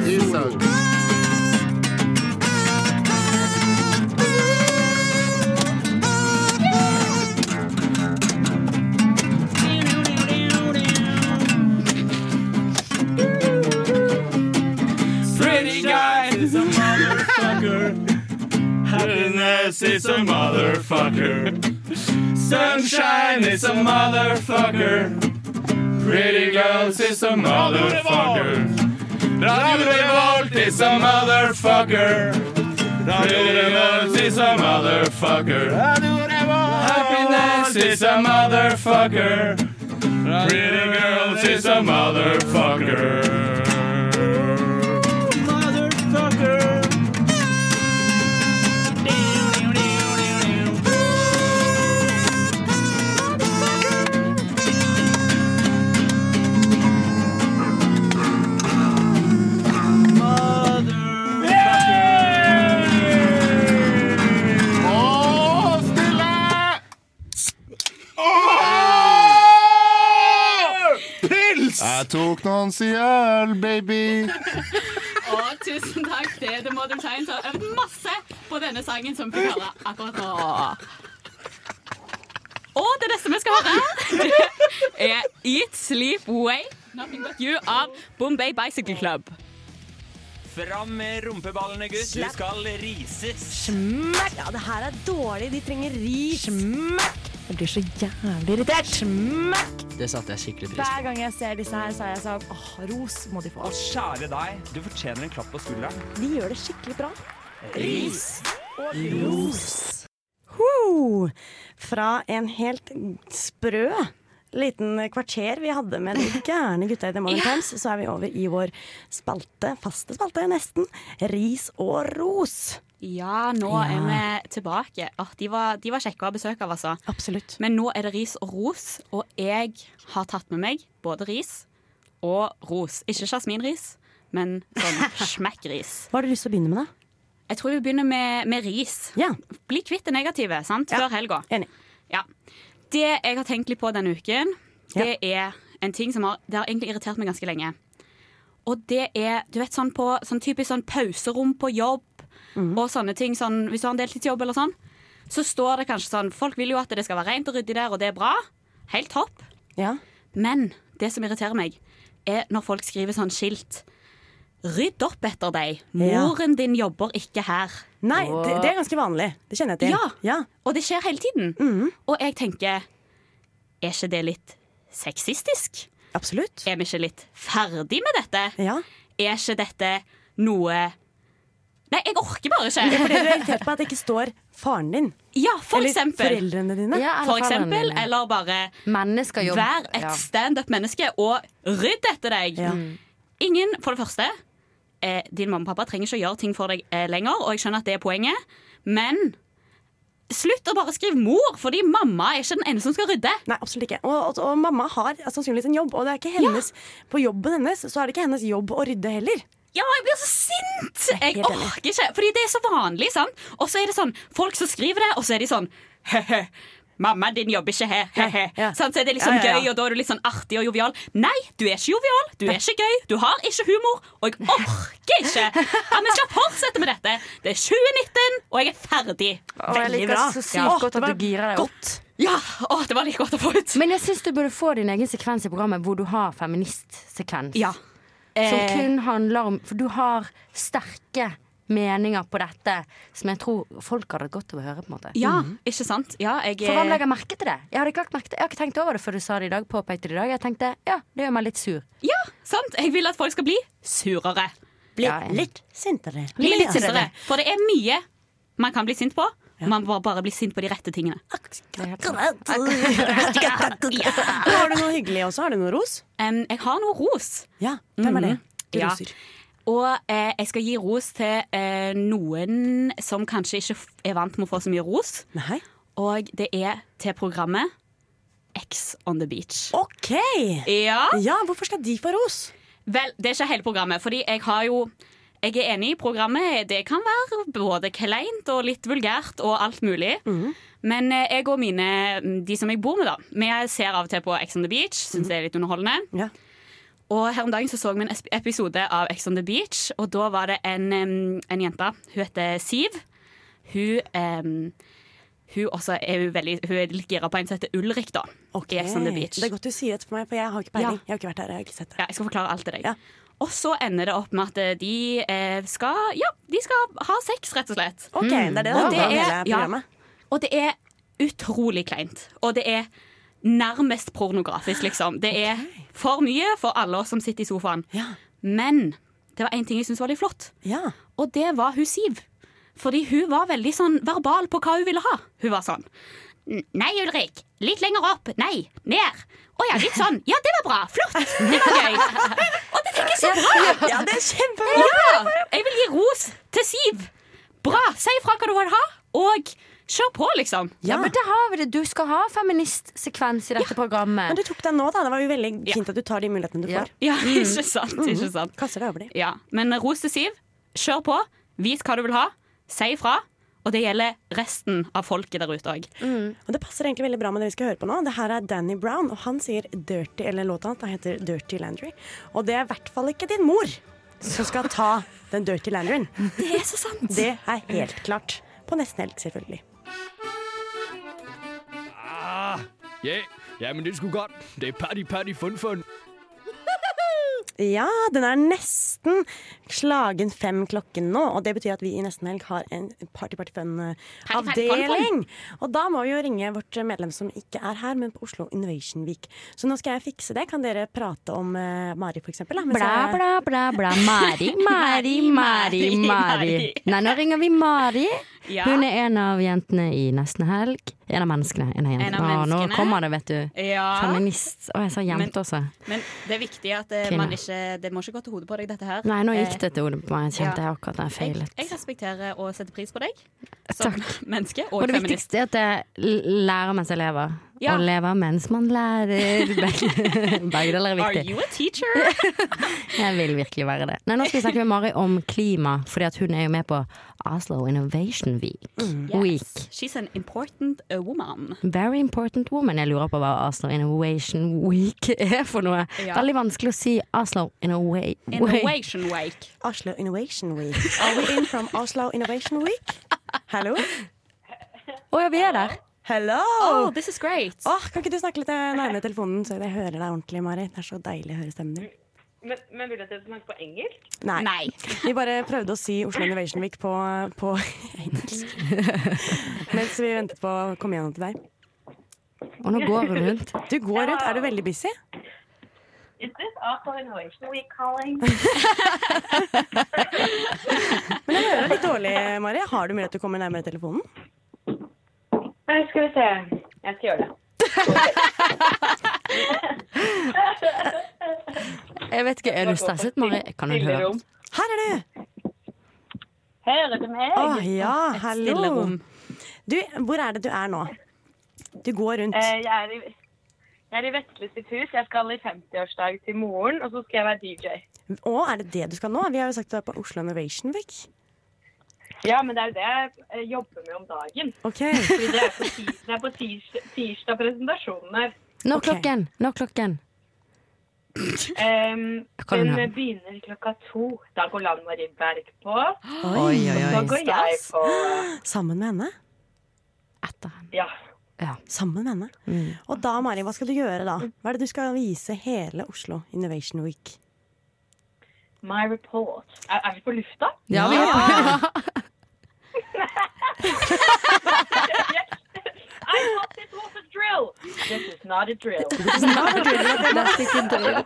[SPEAKER 10] Pretty guy is a motherfucker. Happiness is a motherfucker. Sunshine is a motherfucker. Pretty girls is a motherfucker. Radio Revolt is a motherfucker. Pretty girls is a motherfucker. Happiness is a motherfucker. Pretty girls is a motherfucker. Motherfucker.
[SPEAKER 7] Å, stille! Pils! Jeg tok noen siøl, baby.
[SPEAKER 3] Og tusen takk til The Modern Times har øvd masse på denne sangen som vi hører akkurat nå. Og det neste vi skal høre, det er Eat Sleep Way, Nothing But You av Bombay Bicycle Club.
[SPEAKER 12] Fram med rumpeballene, gutt. Du
[SPEAKER 3] Slapp.
[SPEAKER 12] skal rises.
[SPEAKER 13] Smekk! Ja, det her er dårlig. De trenger ris. Smekk!
[SPEAKER 1] Jeg blir så jævlig irritert. Smack!
[SPEAKER 14] Det satte jeg skikkelig pris
[SPEAKER 1] Hver gang jeg ser disse her, så er jeg sånn åh, ros må de få.
[SPEAKER 12] Å, kjære deg, du fortjener en klapp på skulderen.
[SPEAKER 1] De gjør det skikkelig bra.
[SPEAKER 12] Ris
[SPEAKER 1] og los. Ho! Fra en helt sprø liten kvarter vi hadde med de gærne gutta i The Morning Times, så er vi over i vår spalte, faste spalte nesten, ris og ros.
[SPEAKER 3] Ja, nå er vi tilbake. Åh, de, var, de var kjekke å ha besøk av, altså.
[SPEAKER 1] Absolutt.
[SPEAKER 3] Men nå er det ris og ros, og jeg har tatt med meg både ris og ros. Ikke jasminris, men sånn smekkris.
[SPEAKER 1] Hva har du lyst til å begynne med, da?
[SPEAKER 3] Jeg tror vi begynner med, med ris. Bli kvitt det negative sant? før helga. Ja. Det jeg har tenkt litt på denne uken, det er en ting som har, det har egentlig irritert meg ganske lenge. Og det er du vet, sånn, på, sånn typisk sånn pauserom på jobb og sånne ting. Sånn, hvis du har en deltidsjobb eller sånn, så står det kanskje sånn Folk vil jo at det skal være rent og ryddig der, og det er bra. Helt topp. Men det som irriterer meg, er når folk skriver sånn skilt. Rydd opp etter deg. Moren din jobber ikke her.
[SPEAKER 1] Nei, det, det er ganske vanlig. Det kjenner jeg til.
[SPEAKER 3] Ja. Og det skjer hele tiden.
[SPEAKER 1] Mm.
[SPEAKER 3] Og jeg tenker Er ikke det litt sexistisk?
[SPEAKER 1] Absolutt.
[SPEAKER 3] Er vi ikke litt ferdig med dette?
[SPEAKER 1] Ja.
[SPEAKER 3] Er ikke dette noe Nei, jeg orker bare ikke.
[SPEAKER 1] Ja, for dere er irritert på at det ikke står faren din.
[SPEAKER 3] Ja, for
[SPEAKER 1] eller
[SPEAKER 3] eksempel.
[SPEAKER 1] foreldrene dine.
[SPEAKER 3] for eksempel, eller bare
[SPEAKER 2] Mennesker jobber.
[SPEAKER 3] Vær et
[SPEAKER 2] Ja.
[SPEAKER 3] standup-menneske og rydd etter deg. Mm. Ingen, for det første eh, Din mamma og pappa trenger ikke å gjøre ting for deg eh, lenger, og jeg skjønner at det er poenget, men slutt å bare skrive 'mor', fordi mamma er ikke den eneste som skal rydde.
[SPEAKER 1] Nei, absolutt ikke. Og, og, og mamma har altså sannsynligvis en jobb, og det er ikke hennes, på jobben hennes så er det ikke hennes jobb å rydde heller.
[SPEAKER 3] Ja, jeg blir så sint! Jeg orker ikke, fordi det er så vanlig, sant? Og så er det sånn, folk som skriver det, og så er de sånn «Hehe, Mamma, din jobber ikke her. hehe». Sant? Så er det liksom
[SPEAKER 1] Ja, ja, ja.
[SPEAKER 3] gøy, og da er du litt sånn artig og jovial. Nei, du er ikke jovial, du er ikke gøy, du har ikke humor, og jeg orker ikke! Ja, Vi skal fortsette med dette. Det er 2019, og jeg er ferdig.
[SPEAKER 2] Og jeg liker så sykt godt at du girer deg opp.
[SPEAKER 3] Ja, å, det var litt godt å få ut.
[SPEAKER 2] Men jeg syns du burde få din egen sekvens i programmet hvor du har feministsekvens.
[SPEAKER 3] Ja.
[SPEAKER 2] Som
[SPEAKER 3] Eh.
[SPEAKER 2] kun handler om For du har sterke meninger på dette som jeg tror folk hadde hatt godt av å høre. på en måte
[SPEAKER 3] Ja,
[SPEAKER 1] Mhm.
[SPEAKER 3] ikke sant? Ja, jeg
[SPEAKER 2] For hvem legger merke til det? Jeg hadde ikke lagt merke til Jeg har ikke tenkt over det før du sa det i dag. Påpekte det i dag Jeg tenkte ja, det gjør meg litt sur.
[SPEAKER 3] Ja, sant? Jeg vil at folk skal bli surere.
[SPEAKER 2] Bli Ja, jeg- litt
[SPEAKER 1] sintere.
[SPEAKER 3] Bli litt sintere. For det er mye man kan bli sint på. Man må bare bli sint på de rette tingene.
[SPEAKER 1] Har du noe hyggelig også? Har du noe ros?
[SPEAKER 3] Em, jeg har noe ros. Mm.
[SPEAKER 1] Ja, hvem er det? Du
[SPEAKER 3] ja.
[SPEAKER 1] roser.
[SPEAKER 3] Og eh, jeg skal gi ros til eh, noen som kanskje ikke f- er vant med å få så mye ros.
[SPEAKER 1] Nei.
[SPEAKER 3] Og det er til programmet X on the beach.
[SPEAKER 1] OK!
[SPEAKER 3] Ja.
[SPEAKER 1] Hvorfor skal de få ros?
[SPEAKER 3] Vel, det er ikke hele programmet, fordi jeg har jo Jeg er enig i programmet. Det kan være både kleint og litt vulgært og alt mulig. Men eh, jeg og mine, de som jeg bor med, da Vi ser av og til på Ex on the Beach. Syns det er litt underholdende. Og her om dagen så, så vi en esp- episode av Ex on the Beach, og da var det en, em, en jente. Hun heter Siv. Hun em, hun, også er hun, veldig, hun er litt gira på en som heter Ulrik, da. I Ex on the
[SPEAKER 1] Hey,
[SPEAKER 3] Beach.
[SPEAKER 1] Eh, Det er godt du sier det for meg, for jeg har ikke peiling. Jeg har ikke vært der, jeg har ikke sett det.
[SPEAKER 3] Ja, jeg skal forklare alt til deg. Og så ender det opp med at eh, de eh, skal Ja, de skal ha sex, rett og slett.
[SPEAKER 1] Ok, det er det det
[SPEAKER 3] Og
[SPEAKER 1] handler om, hele
[SPEAKER 3] Mm. ja,
[SPEAKER 1] programmet.
[SPEAKER 3] og det er utrolig kleint. Og det er nærmest pornografisk, liksom. Det er for mye for alle oss som sitter i sofaen. Men det var én ting jeg syntes var litt flott, og det var hun Siv. Fordi hun var veldig sånn verbal på hva hun ville ha. Hun var sånn N- Nei, Ulrik. Litt lenger opp. Nei. Ned. Å ja, litt sånn. Ja, det var bra. Flott. Det var gøy. Og det fikk jeg så bra.
[SPEAKER 1] Ja, ja, det er kjempebra.
[SPEAKER 3] Ja, jeg vil gi ros til Siv. Bra. Si ifra hva du vil ha, og kjør på, liksom.
[SPEAKER 2] Ja, men det har vi det. Du skal ha feministsekvens i dette programmet.
[SPEAKER 1] Men du tok den nå, da. Det var jo veldig fint at du tar de mulighetene du
[SPEAKER 2] Ja.
[SPEAKER 1] får.
[SPEAKER 3] Ja,
[SPEAKER 2] Mm.
[SPEAKER 3] ikke sant.
[SPEAKER 2] Mm-hmm.
[SPEAKER 3] Ikke sant.
[SPEAKER 1] Kaster deg over de.
[SPEAKER 3] Ja, men ros til Siv. Kjør på. Vis hva du vil ha. Si ifra. Og det gjelder resten av folket der ute òg.
[SPEAKER 2] Mm.
[SPEAKER 1] Og Det passer egentlig veldig bra med det vi skal høre på nå. Det her er Danny Brown, og han sier dirty, eller låta hans heter Dirty Landry. Og det er i hvert fall ikke din mor som skal ta den Dirty Landryen.
[SPEAKER 3] Det er så sant.
[SPEAKER 1] Det er helt klart. På nesten helt, selvfølgelig.
[SPEAKER 10] Ah, ja, ja, men det skulle godt. Det er party, party, fun, fun.
[SPEAKER 1] Ja, den er nesten slagen fem klokken nå. Og det betyr at vi i Nesten Helg har en Party Party Fun-avdeling. Og da må vi jo ringe vårt medlem som ikke er her, men på Oslo Innovation Week. Så nå skal jeg fikse det. Kan dere prate om eh, Mari, for eksempel? da, mens
[SPEAKER 2] Bla,
[SPEAKER 1] jeg-
[SPEAKER 2] bla, bla, bla. Mari, Mari, Mari, Mari. Nei, nå ringer vi Mari.
[SPEAKER 3] Ja.
[SPEAKER 2] Hun er en av jentene i Nesten Helg. En av menneskene. En av
[SPEAKER 3] En
[SPEAKER 2] jentene.
[SPEAKER 3] av
[SPEAKER 2] Å, nå
[SPEAKER 3] menneskene.
[SPEAKER 2] kommer det, vet du.
[SPEAKER 3] Ja.
[SPEAKER 2] Feminist. Å, jeg sa
[SPEAKER 3] Men-
[SPEAKER 2] jente også.
[SPEAKER 3] Men det er viktig at eh,
[SPEAKER 2] Kvinne.
[SPEAKER 3] man ikke Det må ikke gå til hodet på deg, dette her.
[SPEAKER 2] Nei, nå gikk det
[SPEAKER 3] Eh,
[SPEAKER 2] til hodet på meg. Jeg kjente
[SPEAKER 3] ja.
[SPEAKER 2] jeg akkurat jeg feilet.
[SPEAKER 3] Jeg, jeg respekterer og setter pris på deg som menneske og,
[SPEAKER 2] Og det
[SPEAKER 3] feminist.
[SPEAKER 2] viktigste er at jeg lærer mens jeg lever.
[SPEAKER 3] Ja.
[SPEAKER 2] Og lever mens man lærer. Begge, begge deler er
[SPEAKER 3] Are
[SPEAKER 2] viktig.
[SPEAKER 3] you a teacher?
[SPEAKER 2] Jeg vil virkelig være det. Nei, nå skal vi snakke med Mari om klima, fordi at hun er jo med på Oslo Innovation Week.
[SPEAKER 3] Mm.
[SPEAKER 2] Week.
[SPEAKER 3] She's an important uh, woman.
[SPEAKER 2] Very important woman. Jeg lurer på hva Oslo Innovation Week er for noe.
[SPEAKER 3] Ja.
[SPEAKER 2] Veldig vanskelig å si Oslo in a way. way.
[SPEAKER 3] Innovation Week.
[SPEAKER 1] Oslo Innovation Week. Are we in from Oslo Innovation Week? Hallo?
[SPEAKER 2] Å ja, vi er der.
[SPEAKER 1] Hello!
[SPEAKER 3] Oh, this is great.
[SPEAKER 1] Åh, kan ikke du snakke litt eh, nærmere telefonen, så jeg hører deg ordentlig, Mari? Det er så deilig å høre stemmen din.
[SPEAKER 13] Men, men vil du at jeg skal snakke på engelsk?
[SPEAKER 1] Nei. Vi bare prøvde å si Oslo Innovation Week på, på engelsk. Mens vi ventet på å komme gjennom til deg.
[SPEAKER 2] Og nå går hun rundt.
[SPEAKER 1] Du går rundt. Er du veldig busy?
[SPEAKER 13] Is this also Innovation Week calling?
[SPEAKER 1] Men jeg hører deg litt dårlig, Mari. Har du mulighet til å komme nærmere telefonen?
[SPEAKER 13] Nei, skal vi se. Jeg skal gjøre det.
[SPEAKER 2] Jeg vet ikke, Er du stresset, Mari? Kan hun høre? oss?
[SPEAKER 1] Her er du!
[SPEAKER 13] Hører du meg?
[SPEAKER 1] Åh, ja,
[SPEAKER 13] Et
[SPEAKER 1] hallo.
[SPEAKER 13] stille rom.
[SPEAKER 1] Du, hvor er det du er nå? Du går rundt.
[SPEAKER 13] Eh, Jeg er i, jeg er i Vestle sitt hus. Jeg skal i 50-årsdag til moren, og så skal jeg være DJ.
[SPEAKER 1] Å, er det det du skal nå? Vi har jo sagt du er på Oslo Innovation Week.
[SPEAKER 13] Ja, men det er jo det jeg eh, jobber med om dagen.
[SPEAKER 1] Ok.
[SPEAKER 13] Fordi det er på, ti, det er på tirs, tirsdag presentasjonen her.
[SPEAKER 2] Nå klokken! Nå klokken.
[SPEAKER 3] Um,
[SPEAKER 13] Em,
[SPEAKER 2] Kan hun
[SPEAKER 13] den
[SPEAKER 2] ha?
[SPEAKER 13] begynner klokka to. Da går Lan Marie Berg på.
[SPEAKER 1] Oi, oi,
[SPEAKER 13] Og
[SPEAKER 1] oi.
[SPEAKER 13] så går jeg på.
[SPEAKER 1] Sammen med henne?
[SPEAKER 13] Ja.
[SPEAKER 1] Sammen med henne.
[SPEAKER 13] Mm.
[SPEAKER 1] Og da, Mari, hva skal du gjøre da? Hva er det du skal vise hele Oslo Innovation Week?
[SPEAKER 13] My report. Er, er vi på lufta?
[SPEAKER 1] Ja, vi er på- Ja.
[SPEAKER 13] I thought this was a drill. This is not a drill.
[SPEAKER 1] This is not a drill. That's not a drill.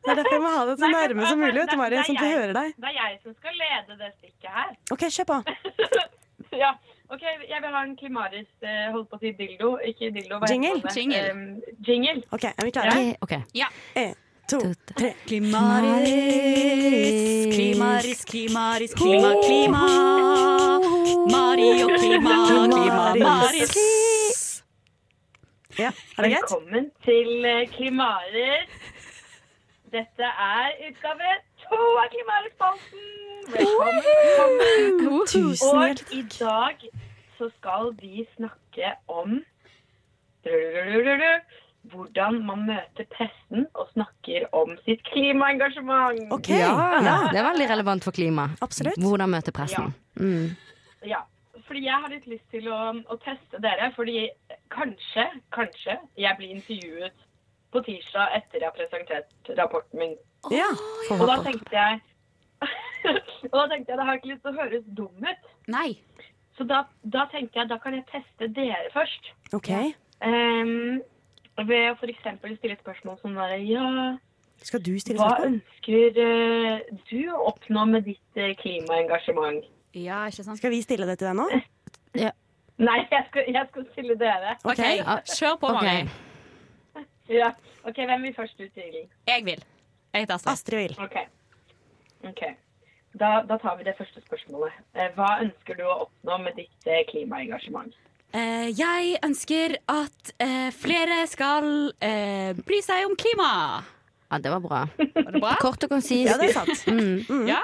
[SPEAKER 1] Det er derfor jeg må ha det så nærme som mulig, vet du, Mari, sånn at jeg hører deg.
[SPEAKER 13] Det er jeg som skal lede det stikket her.
[SPEAKER 1] OK, kjør på.
[SPEAKER 13] ja. OK, jeg vil ha en klimaris eh, Holdt på å si dildo. Ikke dildo, hva heter
[SPEAKER 1] Jingle?
[SPEAKER 13] det?
[SPEAKER 1] Jingle.
[SPEAKER 13] Em, jingle.
[SPEAKER 1] OK, er vi klare?
[SPEAKER 13] Ja.
[SPEAKER 2] Ok.
[SPEAKER 3] Ja.
[SPEAKER 1] En, to, tre.
[SPEAKER 15] Klimaris, klimaris, klimaris, klima, klima. Mari og klima, klima, Maris.
[SPEAKER 1] Ja, er det greit?
[SPEAKER 13] Velkommen til eh, Klimaris. Dette er utgave to av Klimaris-spalten. Velkommen. velkommen.
[SPEAKER 15] Tusen
[SPEAKER 13] Og i dag så skal vi snakke om hvordan man møter pressen og snakker om sitt klimaengasjement.
[SPEAKER 2] Ja. Det er veldig relevant for klima.
[SPEAKER 13] Absolutt.
[SPEAKER 2] Hvordan møte pressen. Mm.
[SPEAKER 13] Ja, fordi jeg har litt lyst til å, å teste dere, fordi kanskje, kanskje jeg blir intervjuet på tirsdag etter jeg har presentert rapporten min.
[SPEAKER 1] Ja.
[SPEAKER 13] Og da tenkte jeg Og da tenkte jeg, det har ikke lyst til å høres dum ut.
[SPEAKER 3] Nei.
[SPEAKER 13] Så da, da tenkte jeg, da kan jeg teste dere først.
[SPEAKER 1] OK.
[SPEAKER 13] Um, ved å for eksempel stille et spørsmål som bare Ja,
[SPEAKER 1] Skal du stille
[SPEAKER 13] hva
[SPEAKER 1] spørsmål?
[SPEAKER 13] ønsker eh, du å oppnå med ditt eh, klimaengasjement?
[SPEAKER 3] Ja, ikke sant?
[SPEAKER 1] Skal vi stille det til deg nå?
[SPEAKER 13] Nei, jeg skal, jeg skal stille dere.
[SPEAKER 3] OK, kjør på, Mari.
[SPEAKER 13] Ja. Ok, Hvem vil først ut, Ingrid?
[SPEAKER 3] Jeg vil. Jeg heter Astrid.
[SPEAKER 1] Astrid vil.
[SPEAKER 13] Ok. Ok. Da, da tar vi det første spørsmålet. Eh, Hva ønsker du å oppnå med ditt eh, klimaengasjement?
[SPEAKER 3] Eh, jeg ønsker at eh, flere skal eh, bry seg om klima.
[SPEAKER 2] Ja, det var bra.
[SPEAKER 3] det bra?
[SPEAKER 2] Kort og konsist.
[SPEAKER 3] Ja, det er sant.
[SPEAKER 2] Mm.
[SPEAKER 3] Ja.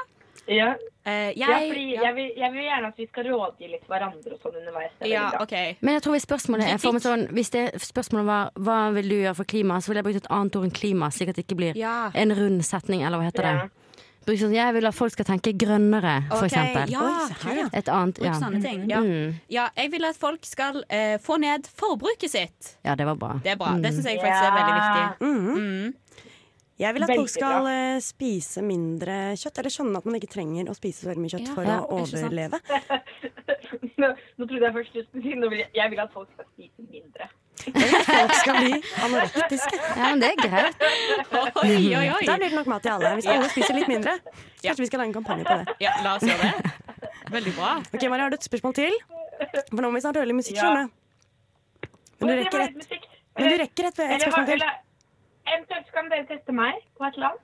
[SPEAKER 13] Ja.
[SPEAKER 3] Eh,
[SPEAKER 13] ja, fordi jeg, vil, jeg vil gjerne at vi skal rådgi litt hverandre og sånn underveis. Det er
[SPEAKER 3] Ja,
[SPEAKER 13] veldig bra.
[SPEAKER 3] OK.
[SPEAKER 2] Men jeg tror hvis spørsmålet er formet sånn Hvis det spørsmålet var hva vil du gjøre for klima, så ville jeg brukt et annet ord enn klima, slik at det ikke blir
[SPEAKER 3] Ja.
[SPEAKER 2] en rund setning, eller hva heter det. Bruk sånn Jeg vil at folk skal tenke grønnere, for
[SPEAKER 3] Ok,
[SPEAKER 2] eksempel.
[SPEAKER 3] ja, Oi, sånn. se her, ja.
[SPEAKER 2] Et annet
[SPEAKER 3] Bruk
[SPEAKER 2] ja.
[SPEAKER 3] sånne ting. Ja.
[SPEAKER 2] Mm.
[SPEAKER 3] ja, jeg vil at folk skal eh, få ned forbruket sitt.
[SPEAKER 2] ja, det var bra.
[SPEAKER 3] Det er bra. Det
[SPEAKER 2] Mm.
[SPEAKER 3] syns jeg faktisk er veldig viktig.
[SPEAKER 1] Mhm. Jeg vil at folk
[SPEAKER 13] Veldig
[SPEAKER 1] skal
[SPEAKER 13] bra.
[SPEAKER 1] eh, spise mindre kjøtt, eller skjønne at man ikke trenger å spise så veldig mye kjøtt
[SPEAKER 13] Ja,
[SPEAKER 1] for
[SPEAKER 13] ja,
[SPEAKER 1] å
[SPEAKER 13] ikke sant.
[SPEAKER 1] overleve.
[SPEAKER 13] nå, nå trodde jeg først du skulle si noe. Jeg vil at folk skal spise mindre.
[SPEAKER 1] Folk skal bli anorektiske.
[SPEAKER 2] Ja, men det er greit.
[SPEAKER 3] Oi, oi, oi.
[SPEAKER 1] Da
[SPEAKER 2] Mm.
[SPEAKER 1] blir det nok mat til alle. Hvis
[SPEAKER 3] Ja.
[SPEAKER 1] alle spiser litt mindre, så kanskje vi skal lage en kampanje på det.
[SPEAKER 3] Ja, la oss gjøre det. Veldig bra.
[SPEAKER 1] Ok, Mari, har du et spørsmål til? For nå må vi snart høre litt musikk,
[SPEAKER 13] Ja.
[SPEAKER 1] skjønner du. Men du
[SPEAKER 13] Å, det
[SPEAKER 1] rekker
[SPEAKER 13] var
[SPEAKER 1] et,
[SPEAKER 13] litt musikk.
[SPEAKER 1] men du rekker et, et
[SPEAKER 13] Eller har-
[SPEAKER 1] spørsmål til.
[SPEAKER 13] eller- Eventuelt kan dere teste meg på et eller annet.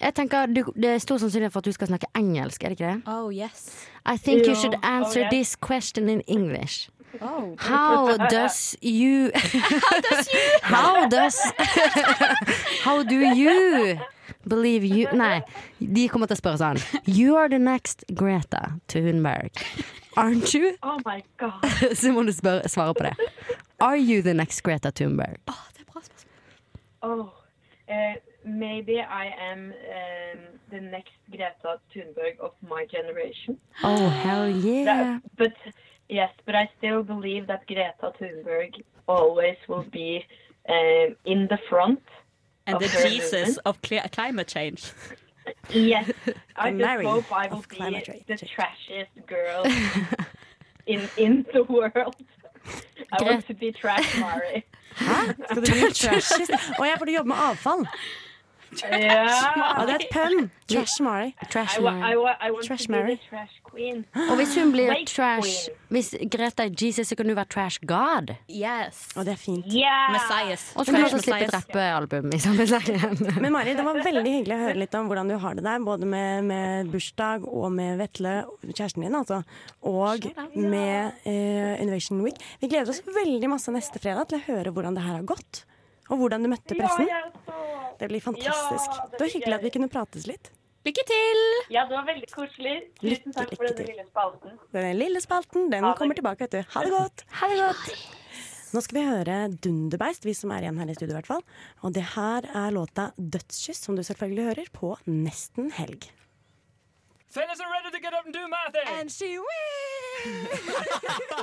[SPEAKER 2] Jeg tenker du, Det er stor sannsynlighet for at du skal snakke engelsk, er det ikke det?
[SPEAKER 3] Oh, yes.
[SPEAKER 2] I think you
[SPEAKER 3] Ja.
[SPEAKER 2] should answer
[SPEAKER 3] Oh, yes.
[SPEAKER 2] this question in English.
[SPEAKER 3] Oh.
[SPEAKER 2] How does you How does you How does How do you believe you Nei, de kommer til å spørre sånn You are the next Greta til Hunberg. Aren't you?
[SPEAKER 13] Oh my god.
[SPEAKER 2] Så må du spørre, svare på det. Are you the next Greta Thunberg?
[SPEAKER 13] Oh, eh, maybe I am eh, the next Greta Thunberg of my generation.
[SPEAKER 2] Oh, hell yeah.
[SPEAKER 13] That- but yes, but I still believe that Greta Thunberg always will be eh, in the front.
[SPEAKER 3] And
[SPEAKER 13] of
[SPEAKER 3] the
[SPEAKER 13] her
[SPEAKER 3] Jesus
[SPEAKER 13] movement.
[SPEAKER 3] of cli- climate change.
[SPEAKER 13] Yes,
[SPEAKER 3] The
[SPEAKER 13] I just
[SPEAKER 3] Mary
[SPEAKER 13] hope I will
[SPEAKER 3] of
[SPEAKER 13] be
[SPEAKER 3] climate
[SPEAKER 13] the trashiest girl in in the world. I want to be trash, Mari.
[SPEAKER 1] Skal du bli trashist? Å, jeg får jobbe med avfall.
[SPEAKER 13] Ja.
[SPEAKER 1] Å, det er et pønn. Trash Mari.
[SPEAKER 13] I, wa I, wa I want
[SPEAKER 1] Trash
[SPEAKER 13] to be
[SPEAKER 1] Mary.
[SPEAKER 13] the trash queen.
[SPEAKER 2] Og hvis hun blir
[SPEAKER 13] Wake
[SPEAKER 2] trash
[SPEAKER 13] queen.
[SPEAKER 2] Hvis Greta er Jesus, så kan du være trash god.
[SPEAKER 3] Yes.
[SPEAKER 1] Å, det er fint.
[SPEAKER 13] Yeah.
[SPEAKER 3] Messias.
[SPEAKER 2] Og så kan du også slippe et rappealbum i samme slengen.
[SPEAKER 1] Men Mari, det var veldig hyggelig å høre litt om hvordan du har det der, både med, med bursdag og med Vetle, kjæresten din altså, og med eh, Innovation Week. Vi gleder oss veldig masse neste fredag til å høre hvordan det her har gått, og hvordan du møtte pressen.
[SPEAKER 13] Ja, jeg så.
[SPEAKER 1] Det blir fantastisk.
[SPEAKER 13] Ja, det
[SPEAKER 1] det var
[SPEAKER 13] blir
[SPEAKER 1] hyggelig at vi kunne prates litt.
[SPEAKER 3] Lykke til!
[SPEAKER 13] Ja, det var veldig koselig. Tusen takk for denne lille spalten.
[SPEAKER 1] Den lille spalten, den kommer tilbake, vet du. Ha det godt!
[SPEAKER 2] Ha det godt!
[SPEAKER 1] Nå skal vi høre Dunderbeist, vi som er igjen her i studio i hvert fall. Og det her er låta 'Dødskyss', som du selvfølgelig hører, på nesten helg.
[SPEAKER 10] Sailors are ready to get up and do my thing. And she will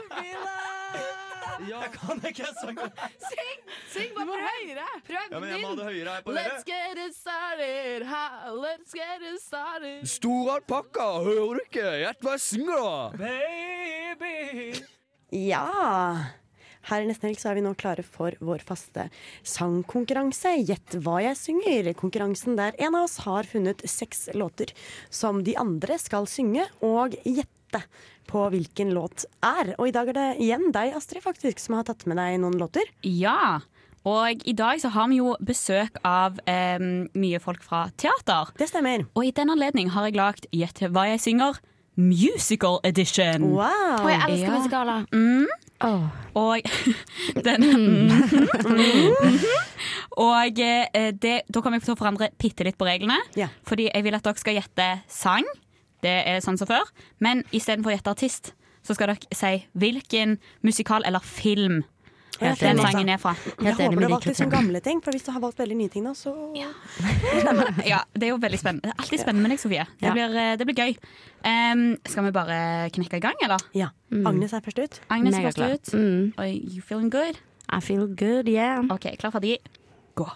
[SPEAKER 10] be loved. Jeg kan ikke synge.
[SPEAKER 16] Syng! Syng bare prøv! Høyere. Prøv
[SPEAKER 10] Ja, men jeg må ha det høyere her på
[SPEAKER 16] Let's
[SPEAKER 10] øret.
[SPEAKER 16] get it started, ha, let's get it started.
[SPEAKER 14] Store alpakka, hører du ikke? Gjett hva jeg synger, da.
[SPEAKER 16] Baby!
[SPEAKER 1] Ja! Her i Nesten Helg så er vi nå klare for vår faste sangkonkurranse. Gjett hva jeg synger. Konkurransen der en av oss har funnet seks låter som de andre skal synge og gjette på hvilken låt er. Og i dag er det igjen deg, Astrid, faktisk, som har tatt med deg noen låter.
[SPEAKER 3] Ja. Og i dag så har vi jo besøk av eh, mye folk fra teater.
[SPEAKER 1] Det stemmer.
[SPEAKER 3] Og i den anledning har jeg lagd Gjett hva jeg synger musical edition.
[SPEAKER 1] Wow.
[SPEAKER 2] Og jeg elsker musikaler.
[SPEAKER 3] Mm. Og den Mhm. Og eh, det, da kommer jeg til å forandre bitte litt på reglene. Fordi jeg vil at dere skal gjette sang. Det er sånn som før. Men istedenfor å gjette artist, så skal dere si hvilken musikal eller film
[SPEAKER 1] Ja,
[SPEAKER 3] eh,
[SPEAKER 1] film
[SPEAKER 3] den
[SPEAKER 1] også.
[SPEAKER 3] sangen er fra.
[SPEAKER 1] Jeg håper du har valgt litt sånn gamle ting, for hvis du har valgt veldig nye ting nå, så
[SPEAKER 3] ja, det er jo veldig spennende. Det er alltid spennende med deg, Sofie. Det,
[SPEAKER 1] Ja.
[SPEAKER 3] blir, eh, det blir gøy. Em, skal vi bare knekke i gang, eller?
[SPEAKER 1] Ja. Agnes er først ut.
[SPEAKER 3] Agnes er
[SPEAKER 2] Megaklar.
[SPEAKER 3] først ut.
[SPEAKER 1] Mm.
[SPEAKER 3] Oi, you feeling good?
[SPEAKER 2] I feel good, yeah.
[SPEAKER 3] OK, klar, ferdig, gå.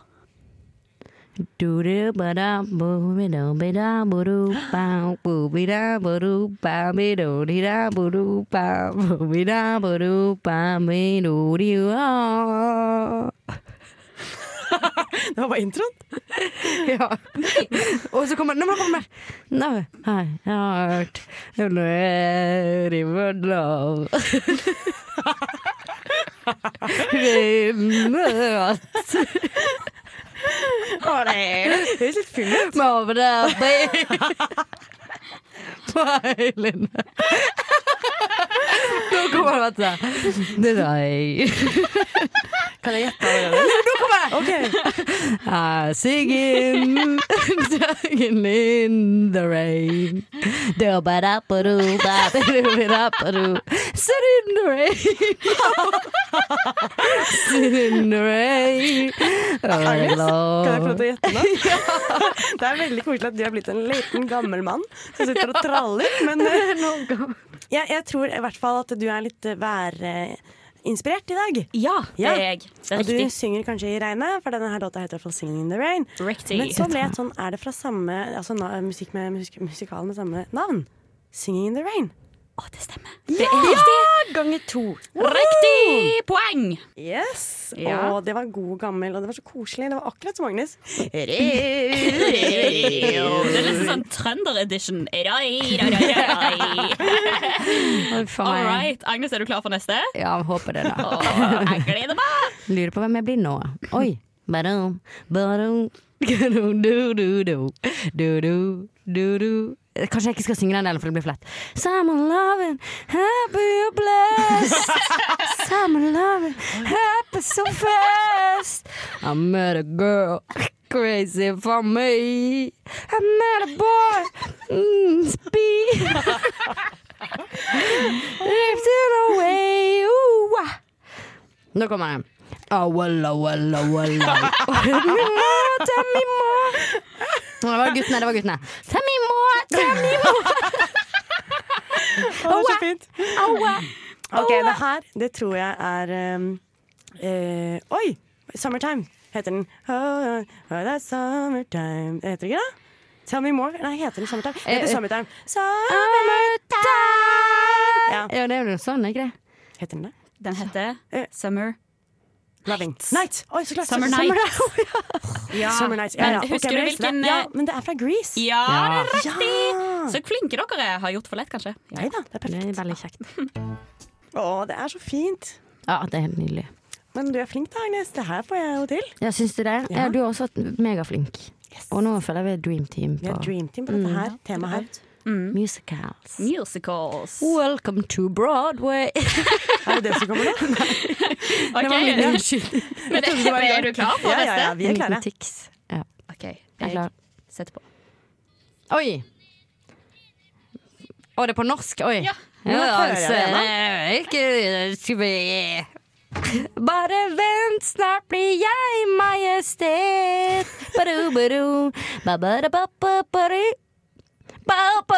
[SPEAKER 2] oh.
[SPEAKER 1] Det var bare introen.
[SPEAKER 2] ja. Og så kommer Nå må jeg komme Nå har jeg hørt Nå er det vår lov Vinnervatt
[SPEAKER 1] Å, det høres litt full ut.
[SPEAKER 2] på øylinja. Nå kommer det, vet du. Det er deg.
[SPEAKER 1] Kan jeg gjette
[SPEAKER 2] Nå kommer det! I'm singing, singing in the rain. Do-ba-da-ba-do, ba-ba-do-ba-da-ba-do. Sit in the rain. Sit in the rain.
[SPEAKER 1] Agnes, kan jeg få lov til å gjette nå?
[SPEAKER 2] Ja.
[SPEAKER 1] Det er veldig koselig at du har blitt en liten gammel mann som sitter og traller, men eh, jeg, jeg tror i hvert fall at du er litt eh, vær... eh, inspirert i dag?
[SPEAKER 15] Ja, det er jeg. Det er
[SPEAKER 1] Og du
[SPEAKER 15] riktig.
[SPEAKER 1] synger kanskje i regnet, for denne her låta heter i hvert fall 'Singing in the Rain'.
[SPEAKER 15] Riktig.
[SPEAKER 1] Men så ble jeg sånn, er det fra samme altså, na, musikk med, musik, musikal med samme navn? 'Singing in the Rain'. Å,
[SPEAKER 15] Det
[SPEAKER 1] det
[SPEAKER 15] er
[SPEAKER 1] stemmer. Ja!
[SPEAKER 15] riktig.
[SPEAKER 1] Ganger to.
[SPEAKER 15] Riktig poeng!
[SPEAKER 1] Yes.
[SPEAKER 15] Ja.
[SPEAKER 1] Og det var god gammel, og det var så koselig. Det var akkurat som Agnes.
[SPEAKER 2] er
[SPEAKER 15] Det er liksom sånn trønder-edition. All right. Agnes, er du klar for neste?
[SPEAKER 2] Ja, jeg håper det, da.
[SPEAKER 15] Jeg gleder meg!
[SPEAKER 2] Lurer på hvem jeg blir nå. Oi. Badum, badum, gadum, du, du, du. Du, du, du, du. Kanskje jeg ikke skal synge den, eller for det blir flaut. Someone loving, happy and blessed. Someone loving, happy so fast. I met a girl, crazy for me. I met a boy, mm, speed. Drifting away, ooh, wah. Nå kommer den. Oh, walla, walla, walla. Tell me more, tell me more. Nå, Det var guttene, det var guttene. Tell me more, tell me more.
[SPEAKER 1] Å, det var så fint. Ok, det her, det tror jeg er um, eh, Oi! 'Summertime' heter den. Oh, oh, that's summertime. Heter det ikke det? Tell me more. Nei, heter den 'Summertime'? Det
[SPEAKER 2] Eh,
[SPEAKER 1] heter
[SPEAKER 2] eh.
[SPEAKER 1] 'Summertime'. Summertime! Ja.
[SPEAKER 2] Ja, det er jo sånn, er ikke det?
[SPEAKER 1] Heter den det?
[SPEAKER 3] Den heter
[SPEAKER 1] Eh.
[SPEAKER 3] Summer
[SPEAKER 1] Loving Night. Oi, så klart.
[SPEAKER 3] Summer
[SPEAKER 1] Summer
[SPEAKER 3] Night.
[SPEAKER 1] Ja. Summer Nights, ja,
[SPEAKER 3] Men
[SPEAKER 1] ja. Ok,
[SPEAKER 3] husker
[SPEAKER 1] men
[SPEAKER 3] du
[SPEAKER 1] jeg visste det.
[SPEAKER 3] hvilken eh,
[SPEAKER 1] Ja, men det er fra Grease.
[SPEAKER 3] Ja, det er
[SPEAKER 1] Ja.
[SPEAKER 3] riktig! Så flinke dere er. Har gjort for lett, kanskje?
[SPEAKER 1] Nei da, det er perfekt.
[SPEAKER 2] Det er veldig kjekt.
[SPEAKER 1] Å, det er så fint.
[SPEAKER 2] Ja, det er helt nydelig.
[SPEAKER 1] Men du er flink da, Agnes. Det her får jeg jo til.
[SPEAKER 2] Ja, syns du det?
[SPEAKER 1] Ja.
[SPEAKER 2] Ja, du har også vært megaflink. Og nå føler jeg vi er dream team.
[SPEAKER 1] Vi er dream team på dette her temaet her.
[SPEAKER 2] Musicals.
[SPEAKER 15] Musicals.
[SPEAKER 2] Welcome to Broadway.
[SPEAKER 1] er det det som kommer nå?
[SPEAKER 15] Ok,
[SPEAKER 2] var min
[SPEAKER 15] unnskyld. Men
[SPEAKER 2] Jeg trodde det var i
[SPEAKER 15] er
[SPEAKER 2] gang.
[SPEAKER 15] du klar for
[SPEAKER 2] Ja, ja,
[SPEAKER 15] neste?
[SPEAKER 2] ja, vi er En liten klare. tics. Ja.
[SPEAKER 15] OK,
[SPEAKER 2] er klar.
[SPEAKER 15] jeg setter på.
[SPEAKER 2] Oi! Å, det er på norsk? Oi. Ja.
[SPEAKER 15] Nå hører jeg
[SPEAKER 2] altså,
[SPEAKER 15] det, da.
[SPEAKER 2] nei, ikke eh, skal vi- Bare vent, snart blir jeg majestet. Baru, baru. Ba, ba, da, ba, ba, ba, ru. Ba, ba.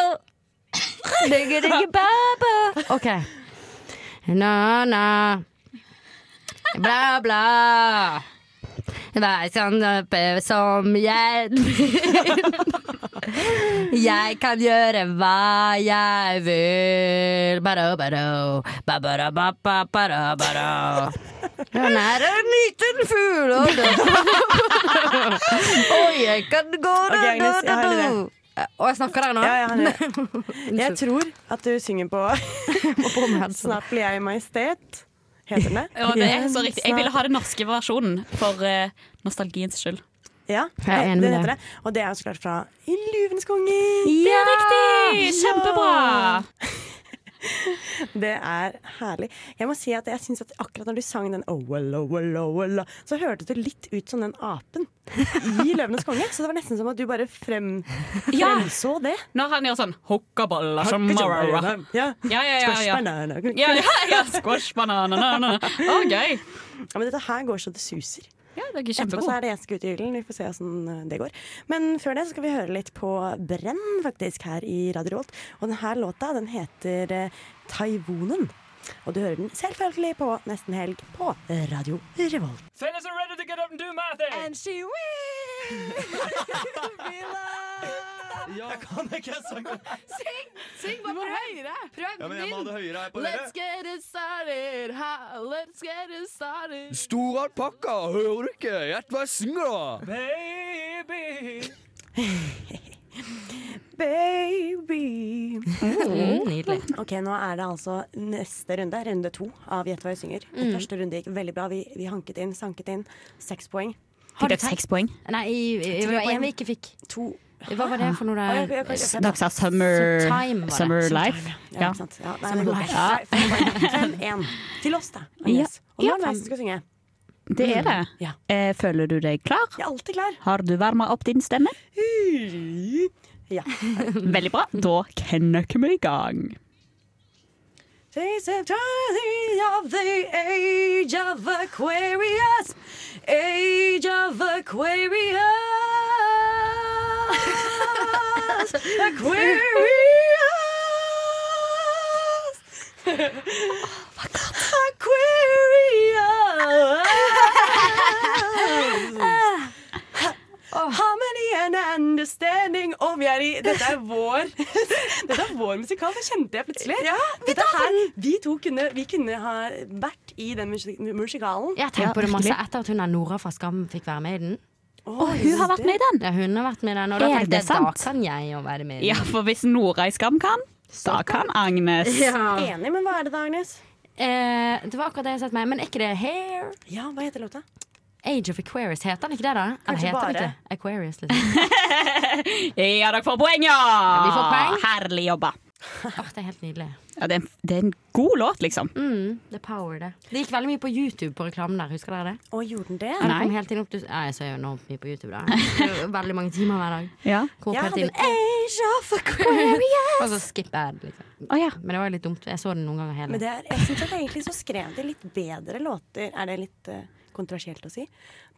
[SPEAKER 2] Digge, digge, ba, ba. OK. Na, na. Bla, bla. Vær sånn oppe som jeg Jeg kan gjøre hva jeg vil. Baro, baro, babara, bappa, baro, baro. Han er en liten fugl, og da Og jeg kan gå da, da,
[SPEAKER 1] Ok, Agnes,
[SPEAKER 2] da,
[SPEAKER 1] jeg
[SPEAKER 2] da.
[SPEAKER 1] har en idé.
[SPEAKER 2] Og jeg snakker der nå?
[SPEAKER 1] Ja, jeg har det. Jeg tror at du synger på Snart blir jeg majestet. Heter den det?
[SPEAKER 15] Ja, det er så riktig. Jeg ville ha den norske versjonen for eh, nostalgiens skyld.
[SPEAKER 1] Ja,
[SPEAKER 15] Jeg er enig
[SPEAKER 1] den
[SPEAKER 15] med
[SPEAKER 1] heter
[SPEAKER 15] deg.
[SPEAKER 1] det. Og det er jo så klart fra I luvens konge.
[SPEAKER 15] Det er riktig! Kjempebra!
[SPEAKER 1] Det er herlig. Jeg må si at jeg synes at akkurat når du sang den oh, well, oh, well, oh, well, oh, så hørtes det litt ut som den apen i Løvenes konge. Så det var nesten som at du bare frem,
[SPEAKER 15] Ja.
[SPEAKER 1] fremså det.
[SPEAKER 15] Når han gjør sånn hokkaballa
[SPEAKER 1] Hokkaballa. Ja,
[SPEAKER 15] ja, ja. ja, ja.
[SPEAKER 1] Squashbanana.
[SPEAKER 15] Ja, ja, ja. Squashbanana. Å, gøy.
[SPEAKER 1] Ja, men dette her går så det suser.
[SPEAKER 15] Ja, det er
[SPEAKER 1] Etterpå så
[SPEAKER 15] kjempegod.
[SPEAKER 1] er det jeg som skal ut i hyllen. Vi får se hvordan det går. Men før det så skal vi høre litt på Brenn, faktisk, her i Radio Revolt. Og denne låta den heter eh, Taiwonen. Og du hører den selvfølgelig på Nesten Helg på Radio Revolt.
[SPEAKER 10] Fellas are ready to get up and do my thing. And she will be loved.
[SPEAKER 17] Ja, kan ikke jeg sange?
[SPEAKER 16] Syng! Syng bare på høyere! Prøv
[SPEAKER 17] Ja, men jeg må ha det høyere her på
[SPEAKER 16] Let's
[SPEAKER 17] høyre.
[SPEAKER 16] get it started, ha, let's get it started.
[SPEAKER 17] Store alpakka, hører du ikke? Gjett hva jeg synger, da.
[SPEAKER 10] Baby.
[SPEAKER 1] Baby.
[SPEAKER 2] Mm, nydelig.
[SPEAKER 1] Ok, Nå er det altså neste runde, runde to av Gjett hva jeg synger. Den
[SPEAKER 2] Mm.
[SPEAKER 1] første runde gikk veldig bra. Vi, vi hanket inn, sanket inn. Seks poeng.
[SPEAKER 2] Har du tenkt- Nei, jeg, jeg,
[SPEAKER 1] Tre
[SPEAKER 2] det var
[SPEAKER 1] poeng.
[SPEAKER 2] en vi ikke fikk.
[SPEAKER 1] To.
[SPEAKER 2] Hva var det for noe
[SPEAKER 1] Å, jeg-
[SPEAKER 2] der?
[SPEAKER 1] jeg- jeg- jeg-
[SPEAKER 15] Dere sa summer,
[SPEAKER 2] Sometime var det.
[SPEAKER 15] summer life.
[SPEAKER 2] Sometime,
[SPEAKER 1] Ja, ikke sant. Ja, nei, men
[SPEAKER 15] Summer
[SPEAKER 1] det
[SPEAKER 15] life.
[SPEAKER 1] går ikke. Fem, en. Til oss, da. Agnes. Og nå
[SPEAKER 15] Ja,
[SPEAKER 1] er det
[SPEAKER 15] fem.
[SPEAKER 1] jeg som skal synge.
[SPEAKER 15] Det er det. Eh, føler du deg klar?
[SPEAKER 1] Jeg er alltid klar.
[SPEAKER 15] Har du varma opp din stemme?
[SPEAKER 1] Ja.
[SPEAKER 15] Veldig bra. Da knøkker vi i gang.
[SPEAKER 1] She's a darling of the age of Aquarius, age of Aquarius, Aquarius, Aquarius. understanding Og vi er i Dette er vår Dette er vår musikal, det kjente jeg plutselig. Dette her, vi to kunne, vi kunne ha vært i den musik musikalen.
[SPEAKER 2] Jeg har tenkt på det masse etter at hun er Nora fra Skam fikk være med i den.
[SPEAKER 3] Og hun har vært med i den!
[SPEAKER 2] Ja, hun har vært med i den, og da
[SPEAKER 3] Er
[SPEAKER 2] tenkte
[SPEAKER 3] det
[SPEAKER 2] jeg da
[SPEAKER 3] sant?
[SPEAKER 2] kan jeg jo være med i
[SPEAKER 3] Ja,
[SPEAKER 2] den.
[SPEAKER 3] for hvis Nora i Skam kan, da kan Agnes.
[SPEAKER 1] Enig, men hva er det da, Agnes?
[SPEAKER 2] Eh, det var akkurat det jeg satte meg, men er ikke det Hair?
[SPEAKER 1] Ja, hva heter låta?
[SPEAKER 2] Age of Aquarius, heter den ikke det da? Eller
[SPEAKER 3] Kanskje
[SPEAKER 2] heter den
[SPEAKER 3] bare.
[SPEAKER 2] ikke Aquarius, liksom.
[SPEAKER 3] Ja, dere får poeng, ja!
[SPEAKER 2] vi får poeng.
[SPEAKER 3] Herlig jobba.
[SPEAKER 2] Åh, det er helt nydelig.
[SPEAKER 3] Ja, det, er en, det er en god låt, liksom.
[SPEAKER 2] Mm, det er power, det. Det gikk veldig mye på YouTube på reklamen der, husker dere det?
[SPEAKER 1] Å, gjorde den det?
[SPEAKER 2] Ja, det kom helt inn opp til, Nei, jeg så jo enormt mye på YouTube da. Det er jo Veldig mange timer hver dag.
[SPEAKER 3] Ja.
[SPEAKER 2] Kom opp
[SPEAKER 1] Jeg
[SPEAKER 2] helt
[SPEAKER 1] hadde
[SPEAKER 2] inn. Age of Aquarius! Og så skip ad, liksom. Men det var jo litt dumt. Jeg så det noen ganger hele.
[SPEAKER 1] Men det er, jeg synes at egentlig så skrev de litt bedre låter. Er det litt eh, kontroversielt å si?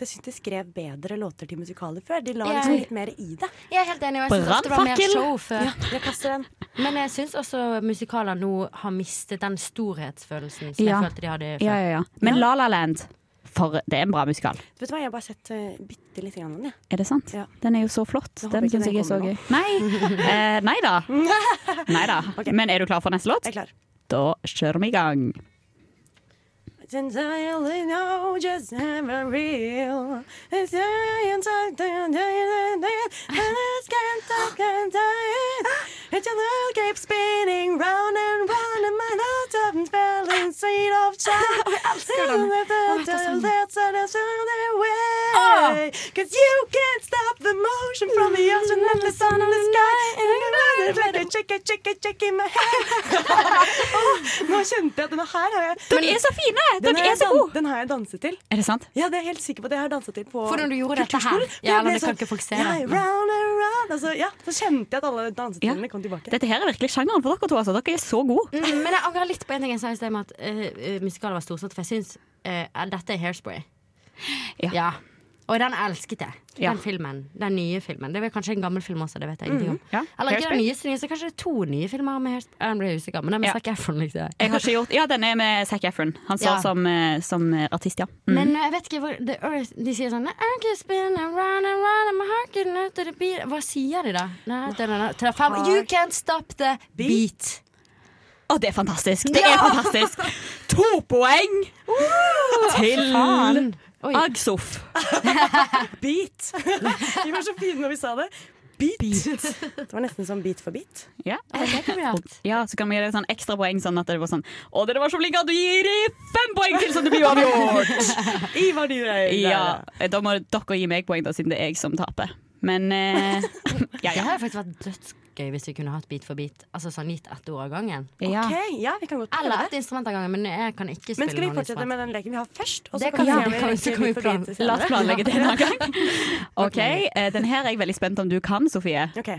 [SPEAKER 1] Jeg syns de skrev bedre låter til musikaler før. De la
[SPEAKER 2] Jeg-
[SPEAKER 1] liksom litt mer i det.
[SPEAKER 2] Jeg er helt enig, og jeg synes ofte det var mer
[SPEAKER 1] Brannfakkel!
[SPEAKER 2] show før.
[SPEAKER 1] Ja, jeg kaster den.
[SPEAKER 2] Men jeg syns også musikaler nå har mistet den storhetsfølelsen som jeg følte de hadde før.
[SPEAKER 3] ja, ja, ja. Men La La Land, for det er en bra musikal.
[SPEAKER 1] Vet du hva, jeg har bare sett uh, bitte lite grann av den, jeg.
[SPEAKER 3] Er det sant? Den er jo så flott.
[SPEAKER 1] Jeg håper
[SPEAKER 3] Den
[SPEAKER 1] ikke
[SPEAKER 3] syns
[SPEAKER 1] den
[SPEAKER 3] jeg er så
[SPEAKER 1] kommer
[SPEAKER 3] gøy.
[SPEAKER 1] nå.
[SPEAKER 3] Nei. Eh, nei da. Nei da. Men er du klar for neste låt?
[SPEAKER 1] Jeg er klar.
[SPEAKER 3] Da kjører vi i gang.
[SPEAKER 1] Since I only know just never real It's the inside the day And it's can't talk and die It's a little keep spinning round and round And my heart doesn't fell in seat of time That's an the way Cause you can't stop the motion from the ocean And the sun and the sky And I'm like a chicken, chicken, chicken in my head Nå kjente jeg at denne her har jeg
[SPEAKER 3] Dere er så fine!
[SPEAKER 1] Den
[SPEAKER 3] Dere
[SPEAKER 1] sånn- har
[SPEAKER 3] er
[SPEAKER 1] jeg
[SPEAKER 3] så
[SPEAKER 1] dan-
[SPEAKER 3] gode!
[SPEAKER 1] Den har jeg danset til.
[SPEAKER 3] Er det sant?
[SPEAKER 1] Ja, det er jeg helt sikker på at jeg har danset til på
[SPEAKER 2] For når du gjorde dette her,
[SPEAKER 1] kulturskolen,
[SPEAKER 2] ja,
[SPEAKER 1] jeg ble
[SPEAKER 2] det kan ikke folk se,
[SPEAKER 1] Ja,
[SPEAKER 2] da.
[SPEAKER 1] round and round. Altså, ja, så kjente jeg at alle dansetimene kom tilbake.
[SPEAKER 3] Dette her er virkelig sjangeren for dere to. Altså. Dere er så gode.
[SPEAKER 2] Mm, men jeg angrer litt på en ting jeg sa i sted, med at eh, eh, musikaler var storsatt, for jeg syns eh, at dette er Hairspray. Ja. Og den elsket jeg. Den
[SPEAKER 3] Ja.
[SPEAKER 2] filmen. Den nye filmen. Det er vel kanskje en gammel film også, det vet jeg ingenting om.
[SPEAKER 3] Mhm. Ja,
[SPEAKER 2] Eller ikke den
[SPEAKER 3] Hairspray.
[SPEAKER 2] nyeste, nyeste, kanskje det er to nye filmer med Hairspray. Jeg ble usikker, men den med
[SPEAKER 3] Ja.
[SPEAKER 2] Zac Efron likte jeg.
[SPEAKER 3] Jeg har ikke gjort Ja, den er med Zac Efron. Han står
[SPEAKER 2] Ja.
[SPEAKER 3] som, eh, som eh, artist, ja. Mm.
[SPEAKER 2] Men jeg vet ikke hvor The Earth De sier sånn The earth is spinning round and round and my heart getting out of the beat Hva sier de da? Nei, da, da, da, til det fem- You can't stop the beat.
[SPEAKER 3] Å, det er fantastisk! Det er fantastisk! To poeng til
[SPEAKER 2] faen. Mm. Oi.
[SPEAKER 3] Ah, Agsof.
[SPEAKER 1] Beat! Vi var så fine når vi sa det. Beat. Det var nesten som beat for beat.
[SPEAKER 3] Ja.
[SPEAKER 2] det kan vi ha.
[SPEAKER 3] ja, så kan vi gi deg sånn ekstra poeng, sånn at det var sånn Å, dere var så flinke at du gir i fem poeng til, så det blir uavgjort!
[SPEAKER 1] Ivar Dyrøy.
[SPEAKER 3] Ja, da må dere gi meg poeng, da, siden det er jeg som taper. Men eh, ja,
[SPEAKER 2] Det
[SPEAKER 3] ja.
[SPEAKER 2] hadde faktisk vært dødsgøy hvis vi kunne hatt Beat for beat. Altså sånn gitt ett ord av gangen.
[SPEAKER 3] Ja.
[SPEAKER 1] Ok, ja, vi kan godt prøve
[SPEAKER 2] Eller
[SPEAKER 1] det.
[SPEAKER 2] ett instrument av gangen, men jeg kan ikke spille
[SPEAKER 1] Men skal vi
[SPEAKER 2] noen
[SPEAKER 1] fortsette
[SPEAKER 2] instrument.
[SPEAKER 1] med den leken vi har først? Og så
[SPEAKER 2] Det
[SPEAKER 1] kan vi
[SPEAKER 2] kan vi-
[SPEAKER 1] se om vi
[SPEAKER 2] så
[SPEAKER 1] rekker
[SPEAKER 2] kan vi
[SPEAKER 1] beat for beat
[SPEAKER 2] plan-
[SPEAKER 3] La
[SPEAKER 1] senere?
[SPEAKER 3] oss planlegge det en annen gang. OK, eh, den her er jeg veldig spent om du kan, Sofie.
[SPEAKER 1] Ok.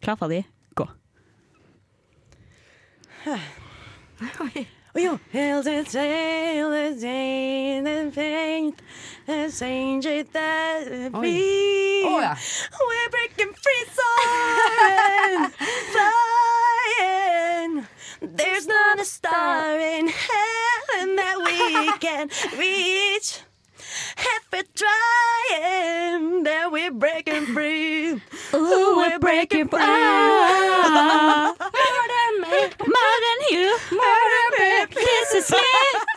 [SPEAKER 3] Klar, ferdig, gå.
[SPEAKER 1] Og jo Hail to sail the day the faith and change it that be
[SPEAKER 2] Å, ja.
[SPEAKER 1] We're breaking free soaring Flying There's not a star in heaven that we can reach If we're trying Then we're breaking free Ooh, we're breaking free
[SPEAKER 3] Modern you, modern me, this is me.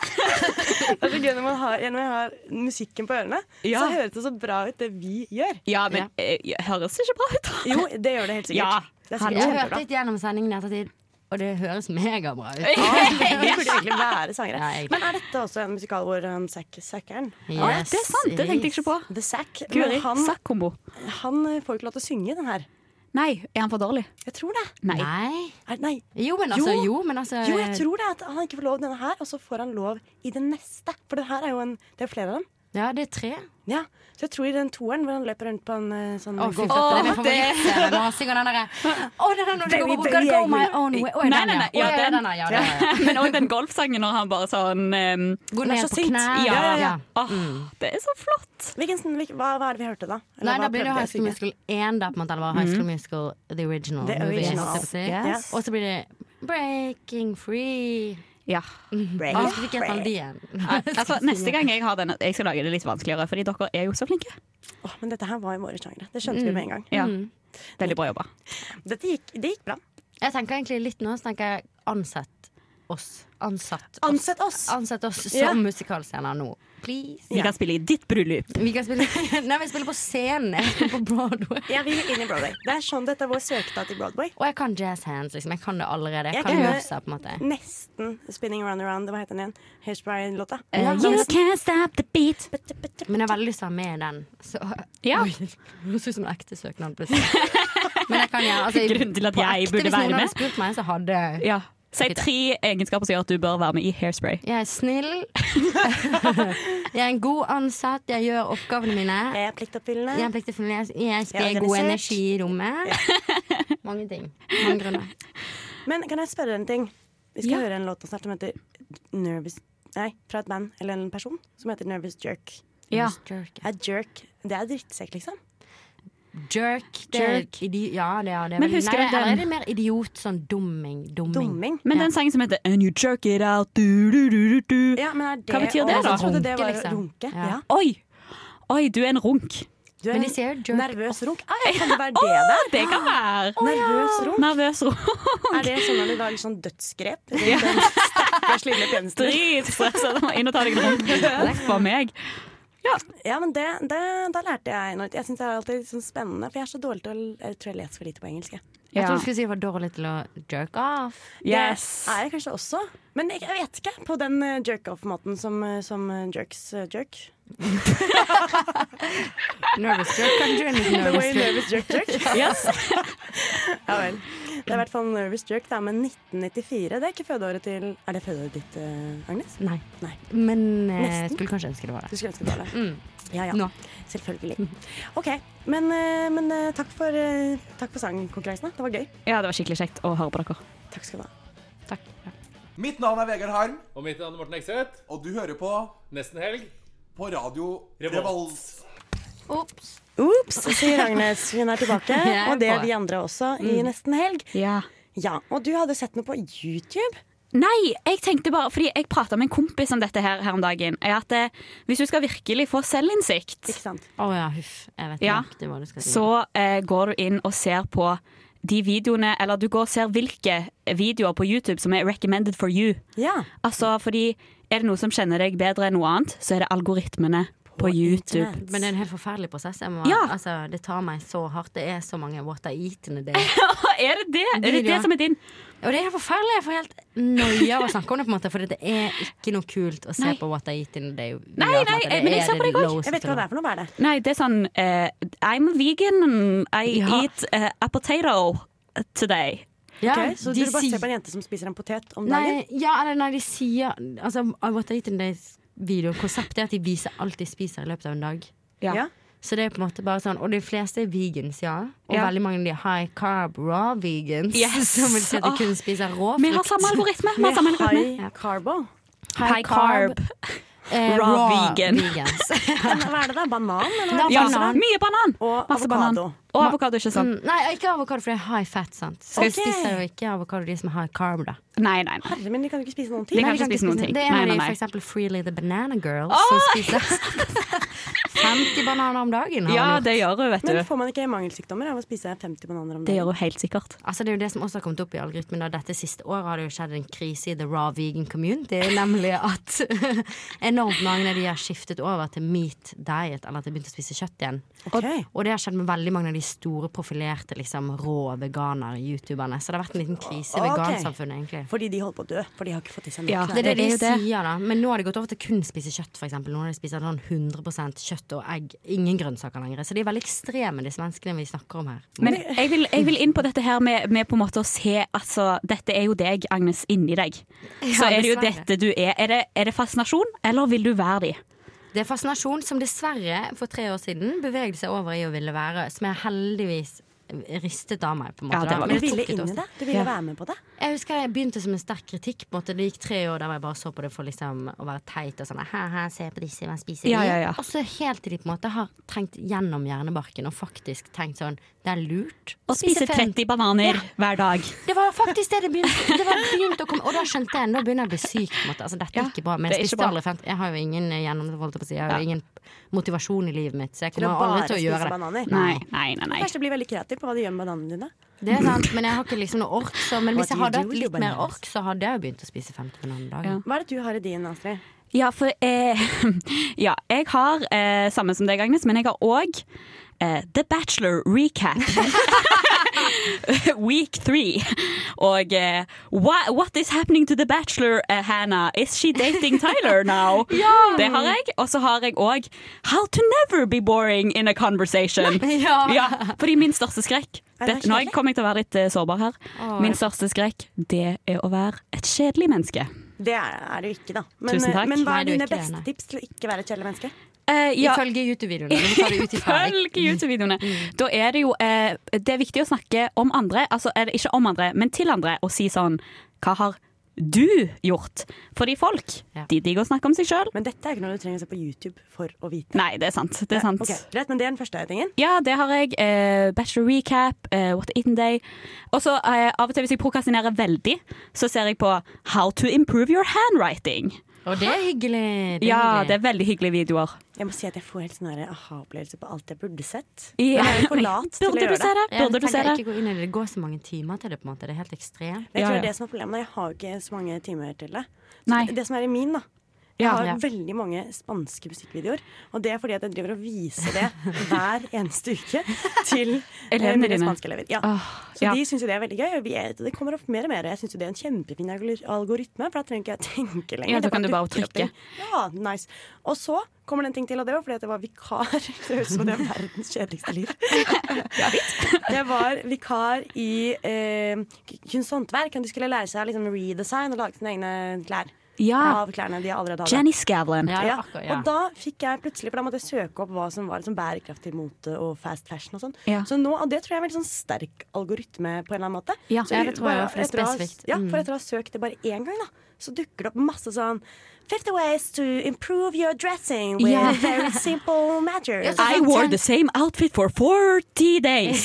[SPEAKER 1] Det er så Altså, gøy når man har, når man har musikken på ørene,
[SPEAKER 3] Ja.
[SPEAKER 1] så høres det så bra ut det vi gjør.
[SPEAKER 3] Ja, men eh, høres det ikke bra ut? da?
[SPEAKER 1] Jo, det gjør det helt sikkert.
[SPEAKER 3] Ja,
[SPEAKER 1] det er
[SPEAKER 2] Han
[SPEAKER 1] sikkert
[SPEAKER 2] jeg hørte
[SPEAKER 1] kjempebra.
[SPEAKER 2] litt gjennom sendingen i ettertid, og det høres megabra ut.
[SPEAKER 1] Ja, Vi burde egentlig være sangere.
[SPEAKER 2] Ja, egentlig.
[SPEAKER 1] Men er dette også en musikal hvor han Zack Zackeren
[SPEAKER 3] Ja, det er sant, det tenkte jeg ikke på.
[SPEAKER 1] The Zack.
[SPEAKER 3] Guri,
[SPEAKER 1] Men han,
[SPEAKER 3] Sakkombo.
[SPEAKER 1] han eh, får ikke lov til å synge den her.
[SPEAKER 3] Nei, er han for dårlig?
[SPEAKER 1] Jeg tror det.
[SPEAKER 3] Nei.
[SPEAKER 2] Nei.
[SPEAKER 1] Er, nei.
[SPEAKER 2] Jo, men altså,
[SPEAKER 1] Jo.
[SPEAKER 2] jo, men altså
[SPEAKER 1] Jo, jeg tror det. At han ikke får lov denne her, og så får han lov i den neste. For det her er jo en, det er flere av dem.
[SPEAKER 2] Ja, det er tre.
[SPEAKER 1] Ja, Så jeg tror i den toeren hvor han løper rundt på en eh, sånn
[SPEAKER 2] Å, fy
[SPEAKER 1] golf-
[SPEAKER 2] flate, det er min
[SPEAKER 3] Åh, det-
[SPEAKER 2] favorittscene når han synger den derre Å, det er den når du
[SPEAKER 1] Very,
[SPEAKER 2] går opp,
[SPEAKER 1] very
[SPEAKER 2] gotta go my
[SPEAKER 1] angry.
[SPEAKER 2] own way. Å,
[SPEAKER 3] Nei,
[SPEAKER 2] den,
[SPEAKER 3] nei, nei.
[SPEAKER 2] Å,
[SPEAKER 3] Ja,
[SPEAKER 2] ja,
[SPEAKER 3] den.
[SPEAKER 2] den, ja, den, ja.
[SPEAKER 3] Men òg den golfsangen når han bare sånn um,
[SPEAKER 2] Gå
[SPEAKER 1] Den er
[SPEAKER 2] ned
[SPEAKER 1] så
[SPEAKER 2] på
[SPEAKER 1] sint.
[SPEAKER 2] knær.
[SPEAKER 3] ja,
[SPEAKER 1] ja,
[SPEAKER 2] ja.
[SPEAKER 3] Åh, Det er så flott.
[SPEAKER 1] Hvilken, hvilken, hva, hva er det vi hørte da? Eller
[SPEAKER 2] Nei,
[SPEAKER 1] hva
[SPEAKER 2] da blir det
[SPEAKER 1] prøvde jeg å
[SPEAKER 2] High School
[SPEAKER 1] synge?
[SPEAKER 2] Musical 1, da, på en måte, eller High School Musical The Original.
[SPEAKER 1] The
[SPEAKER 2] movie,
[SPEAKER 1] original.
[SPEAKER 2] holdt jeg på å si.
[SPEAKER 1] Yes.
[SPEAKER 2] Og så blir det Breaking Free.
[SPEAKER 3] Ja.
[SPEAKER 2] Jeg husker ikke helt melodien.
[SPEAKER 3] Nei, altså, neste gang jeg har den, jeg skal lage det litt vanskeligere, fordi dere er jo så flinke.
[SPEAKER 2] Mm.
[SPEAKER 1] Åh, men dette her var i våre sjangre. Det skjønte vi med en gang.
[SPEAKER 3] Ja. Veldig bra jobba.
[SPEAKER 1] det gikk bra.
[SPEAKER 2] Jeg tenker egentlig litt nå, så tenker jeg ansett oss. Ansatt oss.
[SPEAKER 1] Ansett oss,
[SPEAKER 2] ansett oss som
[SPEAKER 1] Ja.
[SPEAKER 2] musikalscener nå. Please.
[SPEAKER 15] Vi kan spille i ditt bryllup.
[SPEAKER 2] Vi kan spille Nei, vi spiller på scenen. Jeg spiller på Broadway.
[SPEAKER 1] Jeg vil inn i Broadway. Det er sånn dette er vår søknad til Broadway.
[SPEAKER 2] Og jeg kan jazz hands, liksom. Jeg kan det allerede. Jeg,
[SPEAKER 1] Jeg
[SPEAKER 2] kan
[SPEAKER 1] kan-
[SPEAKER 2] movesa, på en måte.
[SPEAKER 1] Nesten Spinning Around Around. Hva heter den igjen? Hash Brian-låta.
[SPEAKER 2] Eh,
[SPEAKER 1] Ja. sånn.
[SPEAKER 2] You
[SPEAKER 15] can't stop the beat.
[SPEAKER 2] Men jeg har veldig lyst til å ha med den. Så, Oi, det høres ut som en ekte søknad. plutselig. Men jeg kan gjøre altså,
[SPEAKER 15] Grunnen til at
[SPEAKER 2] på
[SPEAKER 15] jeg
[SPEAKER 2] ekte,
[SPEAKER 15] burde
[SPEAKER 2] hvis
[SPEAKER 15] være
[SPEAKER 2] noen
[SPEAKER 15] med.
[SPEAKER 2] hadde spurt meg, så hadde jeg
[SPEAKER 15] Ja. Si tre egenskaper som gjør at du bør være med i Hairspray.
[SPEAKER 2] Jeg er snill. jeg er en god ansatt. Jeg gjør oppgavene mine.
[SPEAKER 1] Jeg er pliktoppfyllende.
[SPEAKER 2] Jeg, er pliktoppfyllende. jeg, jeg
[SPEAKER 1] Jeg er
[SPEAKER 2] sprer god
[SPEAKER 1] organisert.
[SPEAKER 2] energi i rommet. Mange ting. Mange grunner.
[SPEAKER 1] Men kan jeg spørre en ting? Vi skal
[SPEAKER 2] Ja.
[SPEAKER 1] høre en låt nå snart som heter Nervous Nei, fra et band eller en person som heter Nervous Jerk.
[SPEAKER 2] Ja. Nervous
[SPEAKER 1] Jerk. Er jerk Det er drittsekk, liksom.
[SPEAKER 2] Jerk. det er
[SPEAKER 1] Jerk.
[SPEAKER 2] idi- ja, det er det.
[SPEAKER 1] Men husker
[SPEAKER 2] Nei,
[SPEAKER 1] du den-
[SPEAKER 2] Eller er det mer idiot, sånn dumming? Dumming.
[SPEAKER 15] Men den sangen som heter And you jerk it out du, du, du, du, du.
[SPEAKER 1] Ja, men er det
[SPEAKER 15] Hva betyr det,
[SPEAKER 1] også-
[SPEAKER 15] da?
[SPEAKER 1] Jeg trodde det var
[SPEAKER 2] liksom.
[SPEAKER 1] runke. Ja.
[SPEAKER 15] Oi. Oi, du er en runk.
[SPEAKER 1] Du er
[SPEAKER 2] Men de
[SPEAKER 1] en
[SPEAKER 2] sier jerk
[SPEAKER 1] nervøs runk. Ah, ja, kan det være
[SPEAKER 15] Å,
[SPEAKER 1] det der?
[SPEAKER 15] det kan være.
[SPEAKER 1] Nervøs runk.
[SPEAKER 15] Nervøs runk.
[SPEAKER 1] Er det sånn at du lager sånn dødsgrep?
[SPEAKER 15] Ja.
[SPEAKER 1] Den Stakkars lille pensten.
[SPEAKER 15] Dritstressa. Du må inn og ta deg en runk. Huff a meg.
[SPEAKER 1] Ja, men det, det, da lærte jeg noe. Jeg syns det er alltid litt sånn spennende, for jeg er så dårlig til å Jeg tror jeg leser for lite på engelsk. jeg.
[SPEAKER 2] Jeg trodde du skulle si jeg var dårlig til å jerk off.
[SPEAKER 1] Det er jeg kanskje også, men jeg, jeg vet ikke. På den eh, jerk-off-måten som, eh, som eh, jerks eh, jerk.
[SPEAKER 2] Nervous jerk. Kan du en liten
[SPEAKER 1] The way
[SPEAKER 2] nervous
[SPEAKER 1] nervous
[SPEAKER 2] jerk?
[SPEAKER 1] jerk jerk.
[SPEAKER 2] Yes.
[SPEAKER 1] ja vel. Det er i hvert fall nervous jerk. Det er med 1994. Det er ikke fødeåret til Er det fødeåret ditt, eh, Agnes?
[SPEAKER 2] Nei.
[SPEAKER 1] Nei.
[SPEAKER 2] Men eh,
[SPEAKER 1] Nesten.
[SPEAKER 2] skulle kanskje ønske det var
[SPEAKER 1] Du
[SPEAKER 2] det.
[SPEAKER 1] skulle ønske det var det.
[SPEAKER 2] Mm.
[SPEAKER 1] Ja, ja.
[SPEAKER 2] Nå. Mm.
[SPEAKER 1] Selvfølgelig. OK. Men, eh, men eh, takk for, eh, takk for sangkonkurransen. da. Det var gøy.
[SPEAKER 15] Ja, det var skikkelig kjekt å høre på dere.
[SPEAKER 1] Takk skal du ha.
[SPEAKER 18] Mitt navn er Vegard Harm.
[SPEAKER 19] Og mitt navn er Morten Ekseth.
[SPEAKER 18] Og du hører på
[SPEAKER 19] Nesten helg.
[SPEAKER 18] på radio
[SPEAKER 19] Revolt.
[SPEAKER 18] Revolt.
[SPEAKER 2] Ops.
[SPEAKER 1] Ops, sier Agnes. Hun er tilbake.
[SPEAKER 2] Jeg er
[SPEAKER 1] Og det er
[SPEAKER 2] på.
[SPEAKER 1] vi andre også i
[SPEAKER 2] Mm.
[SPEAKER 1] nesten helg.
[SPEAKER 15] Ja.
[SPEAKER 1] ja. Og du hadde sett noe på YouTube?
[SPEAKER 3] Nei, jeg tenkte bare, fordi jeg prata med en kompis om dette her, her om dagen. Er at eh, Hvis du skal virkelig få selvinnsikt,
[SPEAKER 2] Å ja, huff. Jeg vet
[SPEAKER 3] Ja.
[SPEAKER 2] nøyaktig hva du skal si.
[SPEAKER 3] så eh, går du inn og ser på de videoene Eller du går og ser hvilke videoer på YouTube som er recommended for you.
[SPEAKER 1] Ja.
[SPEAKER 3] Altså, fordi Er det noe som kjenner deg bedre enn noe annet, så er det algoritmene på, YouTube.
[SPEAKER 2] Men det er en helt forferdelig prosess. Jeg må,
[SPEAKER 3] Ja.
[SPEAKER 2] altså, det tar meg så hardt. Det er så mange what I eat in a day.
[SPEAKER 3] er det det? Er det det som er din?
[SPEAKER 2] Og det er helt forferdelig. Jeg får helt noia av å snakke om det, på en måte, for det er ikke noe kult å se
[SPEAKER 3] Nei.
[SPEAKER 2] på what I eat in a day.
[SPEAKER 3] Nei,
[SPEAKER 2] Ja, på en
[SPEAKER 3] nei,
[SPEAKER 2] måte.
[SPEAKER 3] eh, men jeg
[SPEAKER 2] er
[SPEAKER 3] ser på deg også.
[SPEAKER 2] loweste
[SPEAKER 3] Jeg vet ikke hva det er for
[SPEAKER 1] noe. Hva er det?
[SPEAKER 3] Nei, det er sånn eh, I'm a vegan. I eat eh, a potato today.
[SPEAKER 1] Ok, så du bare ser på en jente som spiser en potet om dagen?
[SPEAKER 2] Nei, ja, eller nei, de sier altså, What I Eat In Days-videoen Konseptet er at de viser alt de spiser i løpet av en dag.
[SPEAKER 1] Ja. Ja.
[SPEAKER 2] Så det er på en måte bare sånn Og de fleste er vegans, ja. Og
[SPEAKER 3] Ja.
[SPEAKER 2] veldig mange av de er high carb raw vegans.
[SPEAKER 3] Yes.
[SPEAKER 2] Som vil si at de
[SPEAKER 3] Åh.
[SPEAKER 2] kun spiser rå frukt.
[SPEAKER 3] Vi har samme algoritme, vi har samme Med algoritme. high
[SPEAKER 2] Ja.
[SPEAKER 1] Carbo.
[SPEAKER 3] High carb. raw,
[SPEAKER 2] Eh, raw
[SPEAKER 3] vegan.
[SPEAKER 2] vegans.
[SPEAKER 1] Men Hva er det da? Banan? Eller hva
[SPEAKER 2] Ja,
[SPEAKER 1] er det?
[SPEAKER 2] banan.
[SPEAKER 3] Mye banan!
[SPEAKER 1] Og
[SPEAKER 3] Masse banan.
[SPEAKER 1] avokado.
[SPEAKER 3] Og avokado, ikke sant?
[SPEAKER 2] Mm, nei, ikke avokado, for det er high fat, sant. Så
[SPEAKER 3] Ok.
[SPEAKER 2] de spiser jo ikke avokado, de som er high carb, da.
[SPEAKER 3] Nei, nei, nei.
[SPEAKER 1] Herre, men de kan jo ikke spise noen
[SPEAKER 3] De
[SPEAKER 1] ting.
[SPEAKER 3] kan
[SPEAKER 2] Nei,
[SPEAKER 3] ikke
[SPEAKER 2] de
[SPEAKER 3] spise noen ting.
[SPEAKER 2] Det er en
[SPEAKER 3] Nei,
[SPEAKER 2] av
[SPEAKER 3] nei,
[SPEAKER 2] de,
[SPEAKER 3] nei.
[SPEAKER 2] for eksempel Freely the Banana Girl,
[SPEAKER 3] Åh!
[SPEAKER 2] som spiser 50 bananer om dagen. har
[SPEAKER 3] Ja,
[SPEAKER 2] han gjort.
[SPEAKER 3] det gjør hun, vet
[SPEAKER 1] Men
[SPEAKER 3] du.
[SPEAKER 1] får man ikke mangelsykdommer av å spise 50 bananer om
[SPEAKER 3] Det
[SPEAKER 1] dagen?
[SPEAKER 3] gjør hun helt sikkert.
[SPEAKER 2] Altså, det er jo det som også har kommet opp i algoritmen. Da. Dette siste året har det jo skjedd en krise i the raw vegan community. Nemlig at enormt mange av de har skiftet over til meat diet, eller at de begynte å spise kjøtt igjen.
[SPEAKER 1] Ok.
[SPEAKER 2] Og det har skjedd med veldig mange av de store profilerte liksom, rå veganer-youtuberne. Så det har vært en liten krise i
[SPEAKER 1] Ok.
[SPEAKER 2] vegansamfunnet, egentlig.
[SPEAKER 1] Fordi de holder på å dø. For de har ikke fått i seg nok.
[SPEAKER 2] Ja,
[SPEAKER 1] næring.
[SPEAKER 2] det er det de sier, da. Men nå har de gått over til kun å spise kjøtt, f.eks. Nå har de spiser sånn 100 kjøtt og egg. Ingen grønnsaker lenger. Så de er veldig ekstreme, disse menneskene vi snakker om her.
[SPEAKER 3] Men jeg vil, jeg vil inn på dette her med, med på en måte å se altså, Dette er jo deg, Agnes, inni deg. Så
[SPEAKER 2] Ja,
[SPEAKER 3] er det jo
[SPEAKER 2] dessverre.
[SPEAKER 3] dette du er. Er det, er det fascinasjon, eller vil du være de?
[SPEAKER 2] Det er fascinasjon som dessverre for tre år siden bevegde seg over i å ville være, som jeg heldigvis ristet av meg. på en måte.
[SPEAKER 3] Ja, det
[SPEAKER 2] da.
[SPEAKER 3] var
[SPEAKER 2] Men
[SPEAKER 1] Du ville
[SPEAKER 2] tok litt
[SPEAKER 1] inn i
[SPEAKER 2] også.
[SPEAKER 1] det? Du ville
[SPEAKER 2] Ja.
[SPEAKER 1] være med på det?
[SPEAKER 2] Jeg husker jeg begynte som en sterk kritikk. på en måte. Det gikk tre år der jeg bare så på det for liksom å være teit og sånn Hæ-hæ, se på disse, hvem spiser de?
[SPEAKER 3] Ja, ja, ja.
[SPEAKER 2] Og så helt til de på en måte har trengt gjennom hjernebarken og faktisk tenkt sånn Det er lurt
[SPEAKER 3] Å spise
[SPEAKER 2] fem-
[SPEAKER 3] 30 bananer hver dag.
[SPEAKER 2] Det var faktisk det det begynte, det var begynt å komme Og da skjønte jeg, nå begynner jeg å bli syk. på en måte. Altså, dette er ikke bra. Men
[SPEAKER 3] det er
[SPEAKER 2] jeg
[SPEAKER 3] ikke
[SPEAKER 2] spiste
[SPEAKER 3] bra.
[SPEAKER 2] aldri fem Jeg har jo ingen eh, gjennom, holdt jeg på å si, jeg har jo ingen motivasjon i livet mitt, så jeg
[SPEAKER 1] Til å
[SPEAKER 2] kommer
[SPEAKER 1] bare
[SPEAKER 2] aldri til å
[SPEAKER 1] spise
[SPEAKER 2] gjøre det.
[SPEAKER 1] bananer?
[SPEAKER 3] Nei, nei, nei. nei.
[SPEAKER 1] Kanskje bli veldig kreativ på hva du gjør med bananene dine.
[SPEAKER 2] Det er sant, men jeg har ikke liksom noe ork. Så, men hvis
[SPEAKER 1] What
[SPEAKER 2] jeg
[SPEAKER 1] do you
[SPEAKER 2] hadde
[SPEAKER 1] do
[SPEAKER 2] hatt
[SPEAKER 1] with your
[SPEAKER 2] litt mer
[SPEAKER 1] bananas?
[SPEAKER 2] ork, så hadde jeg jo begynt å spise 50 bananer om dagen.
[SPEAKER 1] Hva er det du har i din, Astrid?
[SPEAKER 3] Ja, for eh, ja, jeg har eh, samme som deg, Agnes, men jeg har òg eh, The Bachelor recap. Week three. Og eh, wha- What is happening to The Bachelor, eh, Hannah? Is she dating Tyler now?
[SPEAKER 15] Ja.
[SPEAKER 3] Det har jeg. Og så har jeg òg How to never be boring in a conversation.
[SPEAKER 15] Ja.
[SPEAKER 3] fordi min største skrekk
[SPEAKER 15] Er det
[SPEAKER 3] det, Nå kommer jeg til å være litt eh, sårbar her.
[SPEAKER 1] Åh.
[SPEAKER 3] Min største skrekk, det er å være et kjedelig menneske.
[SPEAKER 1] Det er, er du ikke, da. Men,
[SPEAKER 3] Tusen takk.
[SPEAKER 1] men
[SPEAKER 3] Nei,
[SPEAKER 1] hva er
[SPEAKER 3] du er
[SPEAKER 1] dine
[SPEAKER 3] ikke det,
[SPEAKER 1] beste
[SPEAKER 3] nei.
[SPEAKER 1] tips til å ikke være et kjedelig menneske?
[SPEAKER 15] Eh,
[SPEAKER 2] Ifølge YouTube-videoene. Du må ta det ut ifra deg.
[SPEAKER 3] Ifølge YouTube-videoene.
[SPEAKER 1] Mm.
[SPEAKER 3] Da er det jo eh, Det er viktig å snakke om andre, altså eller ikke om andre, men til andre, og si sånn Hva har du gjort? Fordi folk, de digger å snakke om seg sjøl.
[SPEAKER 1] Men dette er ikke noe du trenger å se på YouTube for å vite.
[SPEAKER 3] Nei, det er sant. Det er sant.
[SPEAKER 1] Ok, greit, men det er den første tingen.
[SPEAKER 3] Ja, det har jeg. Eh, bachelor recap, eh, What to eat in day. Og så eh, av og til hvis jeg prokrastinerer veldig, så ser jeg på How to improve your handwriting.
[SPEAKER 2] Og det er hyggelig.
[SPEAKER 1] det er
[SPEAKER 3] ja,
[SPEAKER 1] hyggelig.
[SPEAKER 3] det er veldig hyggelige videoer.
[SPEAKER 1] Jeg må si at jeg får helt sånn her aha-opplevelse på alt jeg burde sett.
[SPEAKER 3] Ja.
[SPEAKER 1] Men jeg er for lat til å
[SPEAKER 3] Burde du
[SPEAKER 1] gjøre
[SPEAKER 3] se det?
[SPEAKER 2] Ja,
[SPEAKER 3] Burde
[SPEAKER 2] men
[SPEAKER 3] du se
[SPEAKER 2] tenker
[SPEAKER 3] det?
[SPEAKER 2] Ikke gå inn i det. det går så mange timer til det, på en måte. Det er helt ekstremt.
[SPEAKER 1] Jeg tror det er det som er problemet. Jeg har jo ikke så mange timer til det. Så
[SPEAKER 2] Nei.
[SPEAKER 1] Det som er i min, da. Jeg
[SPEAKER 2] Ja,
[SPEAKER 1] har
[SPEAKER 2] ja.
[SPEAKER 1] veldig mange spanske musikkvideoer. Og det er fordi at jeg driver og viser det hver eneste uke til eh,
[SPEAKER 3] Elevene
[SPEAKER 1] mine
[SPEAKER 3] dine.
[SPEAKER 1] spanske elever. Ja.
[SPEAKER 3] Åh,
[SPEAKER 1] Så
[SPEAKER 3] ja.
[SPEAKER 1] de syns jo det er veldig gøy. Og vi er, det kommer opp mer og mer. Jeg syns jo det er en kjempefin algor- algoritme, for da trenger ikke jeg tenke lenger.
[SPEAKER 3] Ja, da
[SPEAKER 1] Det
[SPEAKER 3] kan du bare
[SPEAKER 1] dukker opp
[SPEAKER 3] trykke.
[SPEAKER 1] ting. Ja, nice. Og så kommer det en ting til, og det var fordi at jeg var vikar. Det høres ut som det er verdens kjedeligste liv. Jeg var vikar i eh, kunst og håndverk. og De skulle lære seg liksom, redesign og lage sine egne klær.
[SPEAKER 3] Ja.
[SPEAKER 1] Av klærne de allerede hadde.
[SPEAKER 3] Jenny Scavlan.
[SPEAKER 1] Ja,
[SPEAKER 3] Ja, akkurat, ja.
[SPEAKER 1] Og da fikk jeg plutselig, for da måtte jeg søke opp hva som var liksom, bærekraftig mote og fast fashion og sånn.
[SPEAKER 3] Ja.
[SPEAKER 1] Så nå, og det tror jeg er en veldig sånn sterk algoritme på en eller annen måte.
[SPEAKER 2] Ja,
[SPEAKER 1] så
[SPEAKER 2] ja, det tror jeg også, for det er
[SPEAKER 1] etter å ha-
[SPEAKER 2] spesifikt.
[SPEAKER 1] Ja,
[SPEAKER 2] Mm.
[SPEAKER 1] for etter å ha søkt det bare én gang, da, så dukker det opp masse sånn 50 ways to improve your dressing with
[SPEAKER 3] Ja.
[SPEAKER 1] very simple measures.
[SPEAKER 3] I wore the same outfit for 40 days.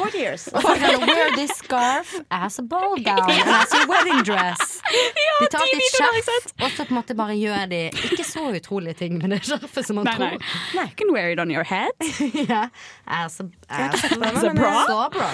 [SPEAKER 1] 40 years.
[SPEAKER 2] Og så er det sånn, Wear this scarf as a ball gown and as a wedding dress. de tar
[SPEAKER 3] de
[SPEAKER 2] et
[SPEAKER 3] videoene har jeg
[SPEAKER 2] skjerf, og så på en måte bare gjør de ikke så utrolige ting med det skjerfet som man
[SPEAKER 3] Nei, nei.
[SPEAKER 2] tror.
[SPEAKER 3] You can wear it on your head.
[SPEAKER 2] ja. As a, as a,
[SPEAKER 3] As a bra?
[SPEAKER 2] Så bra.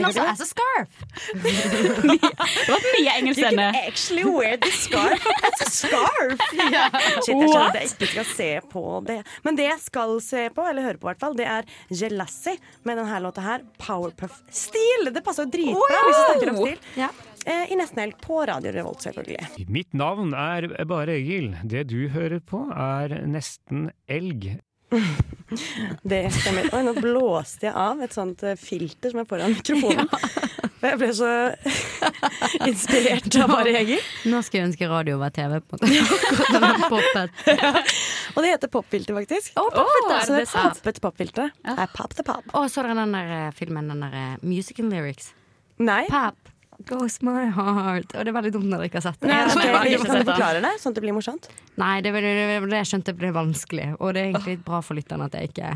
[SPEAKER 2] And also as a scarf.
[SPEAKER 3] Det var mye engelsk
[SPEAKER 1] You
[SPEAKER 3] denne.
[SPEAKER 1] can actually wear the scarf as a scarf!
[SPEAKER 2] Ja.
[SPEAKER 1] Shit, jeg skjønner
[SPEAKER 3] What?
[SPEAKER 1] at jeg ikke skal se på det. Men det jeg skal se på, eller høre på i hvert fall, det er Jelassi med denne låta her. Powerpuff-stil! Det passer jo dritbra hvis du snakker om stil. Eh, I nesten helg på Radio Revolt, selvfølgelig.
[SPEAKER 20] Mitt navn er Bare Egil. Det du hører på, er nesten elg.
[SPEAKER 1] Det stemmer. Oi, nå blåste jeg av et sånt eh, filter som er foran mikrofonen. For Jeg ble så inspirert av Bare Egil.
[SPEAKER 2] Nå skulle jeg ønske radio var TV. på en måte.
[SPEAKER 1] Og det heter popfilter, faktisk.
[SPEAKER 2] Å, popfilter, er
[SPEAKER 1] så det
[SPEAKER 2] det
[SPEAKER 1] er
[SPEAKER 2] sant?
[SPEAKER 1] poppet popfilter. Det er pop the pop.
[SPEAKER 2] Og så er det den der eh, filmen, den der eh, Music and Lyrics.
[SPEAKER 1] Nei.
[SPEAKER 2] Pap goes my heart. Og det er veldig dumt når dere ikke har sett det.
[SPEAKER 1] Nei,
[SPEAKER 2] Jeg tror jeg
[SPEAKER 1] ok,
[SPEAKER 2] bare ikke har
[SPEAKER 1] kan
[SPEAKER 2] sett
[SPEAKER 1] du forklare det, sånn at det blir morsomt?
[SPEAKER 2] Nei, det var det, det, var det jeg skjønte ble vanskelig. Og det er egentlig litt bra for lytterne at jeg ikke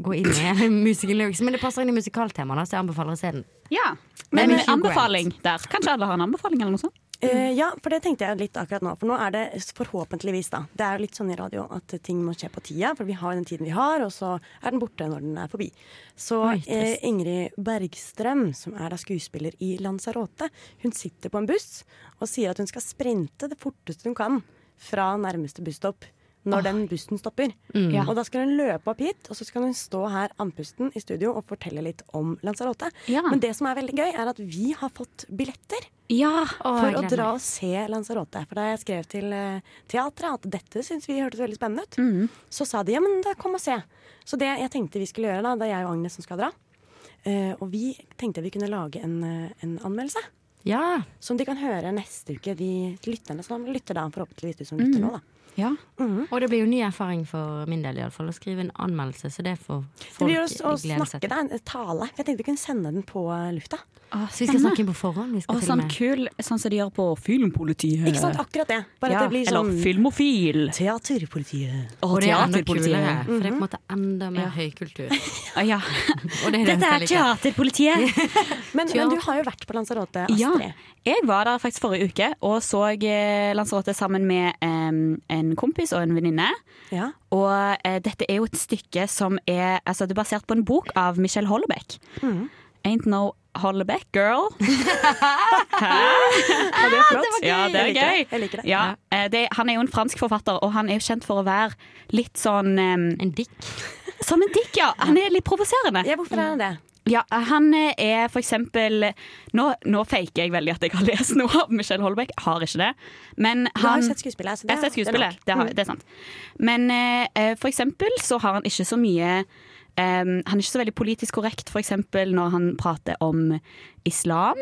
[SPEAKER 2] går inn i hele Music and Lyrics. Men det passer inn i musikaltemaet, da, så jeg anbefaler å se den.
[SPEAKER 3] Ja.
[SPEAKER 2] Men
[SPEAKER 3] Men
[SPEAKER 2] Hugh Grant.
[SPEAKER 3] anbefaling der. Kanskje alle har en anbefaling eller noe sånt?
[SPEAKER 1] Eh, ja, for det tenkte jeg litt akkurat nå. For nå er det forhåpentligvis, da. Det er jo litt sånn i radio at ting må skje på tida, for vi har den tiden vi har, og så er den borte når den er forbi. Så
[SPEAKER 2] Oi, trist.
[SPEAKER 1] eh, Ingrid Bergstrøm, som er da skuespiller i Lanzarote, hun sitter på en buss og sier at hun skal sprinte det forteste hun kan fra nærmeste busstopp. Når den bussen stopper.
[SPEAKER 2] Mm. Ja.
[SPEAKER 1] Og da skal hun løpe opp hit, og så skal hun stå her andpusten i studio og fortelle litt om Lanzarote.
[SPEAKER 3] Ja.
[SPEAKER 1] Men det som er veldig gøy, er at vi har fått billetter.
[SPEAKER 3] Ja,
[SPEAKER 1] For å dra og se Lanzarote. For da jeg skrev til eh, teatret at dette syntes vi hørtes veldig spennende ut, så sa de ja, men da kom og se. Så det jeg tenkte vi skulle gjøre da, det er jeg og Agnes som skal dra. Eh, og vi tenkte vi kunne lage en, eh, en anmeldelse. Som de kan høre neste uke, de lytterne som lytter da, forhåpentligvis du som lytter nå, da.
[SPEAKER 2] Og det blir jo ny erfaring for min del, iallfall, å skrive en anmeldelse. Så det får
[SPEAKER 1] Det
[SPEAKER 2] folk
[SPEAKER 1] blir jo å å
[SPEAKER 2] glede seg
[SPEAKER 1] snakke, det er en tale. Jeg tenkte vi kunne sende den på eh, lufta.
[SPEAKER 2] Så vi skal snakke inn på forhånd? Vi skal
[SPEAKER 3] Og
[SPEAKER 2] til og
[SPEAKER 3] sånn
[SPEAKER 2] med-
[SPEAKER 3] kul, sånn som de gjør på Filmpolitiet.
[SPEAKER 1] Ikke sant, akkurat det. Bare
[SPEAKER 3] ja,
[SPEAKER 1] at det blir sånn
[SPEAKER 3] Eller Filmofil.
[SPEAKER 1] Teaterpolitiet.
[SPEAKER 3] Og,
[SPEAKER 2] Og det er enda kulere,
[SPEAKER 3] teaterpolitiet.
[SPEAKER 2] for det er på en måte enda mer høykultur.
[SPEAKER 3] Ah, ja.
[SPEAKER 2] Og det er det
[SPEAKER 3] Dette
[SPEAKER 2] jeg
[SPEAKER 3] er
[SPEAKER 2] liker.
[SPEAKER 3] teaterpolitiet.
[SPEAKER 1] men, men du har jo vært på Lanzarote, Astrid.
[SPEAKER 3] Ja, jeg var der faktisk forrige uke og så eh, Lanzarote sammen med em, en en kompis og en venninne. Og eh, dette er jo et stykke som er altså, Det er basert på en bok av Michelle Hollebeck. Ain't no Hollebeck girl. Hæ?
[SPEAKER 1] det
[SPEAKER 3] flott. Ja, det er
[SPEAKER 1] Jeg liker
[SPEAKER 3] gøy.
[SPEAKER 1] det. Jeg liker det.
[SPEAKER 3] Ja, eh, det, han er jo en fransk forfatter, og han er jo kjent for å være litt sånn
[SPEAKER 2] En dick?
[SPEAKER 3] Som en dick, ja. Han er litt provoserende.
[SPEAKER 1] Ja, hvorfor er han det?
[SPEAKER 3] Ja, eh, Han eh, er for eksempel Nå, nå faker jeg veldig at jeg har lest noe av Michelle Holbeck. Har ikke det. Men
[SPEAKER 1] Du har
[SPEAKER 3] han
[SPEAKER 1] jo sett skuespillet. så det-
[SPEAKER 3] jeg har sett skuespillet,
[SPEAKER 1] nok.
[SPEAKER 3] det, har,
[SPEAKER 1] Mm.
[SPEAKER 3] det er sant. Men eh, eh, for eksempel så har han ikke så mye eh, Han er ikke så veldig politisk korrekt, for eksempel når han prater om islam.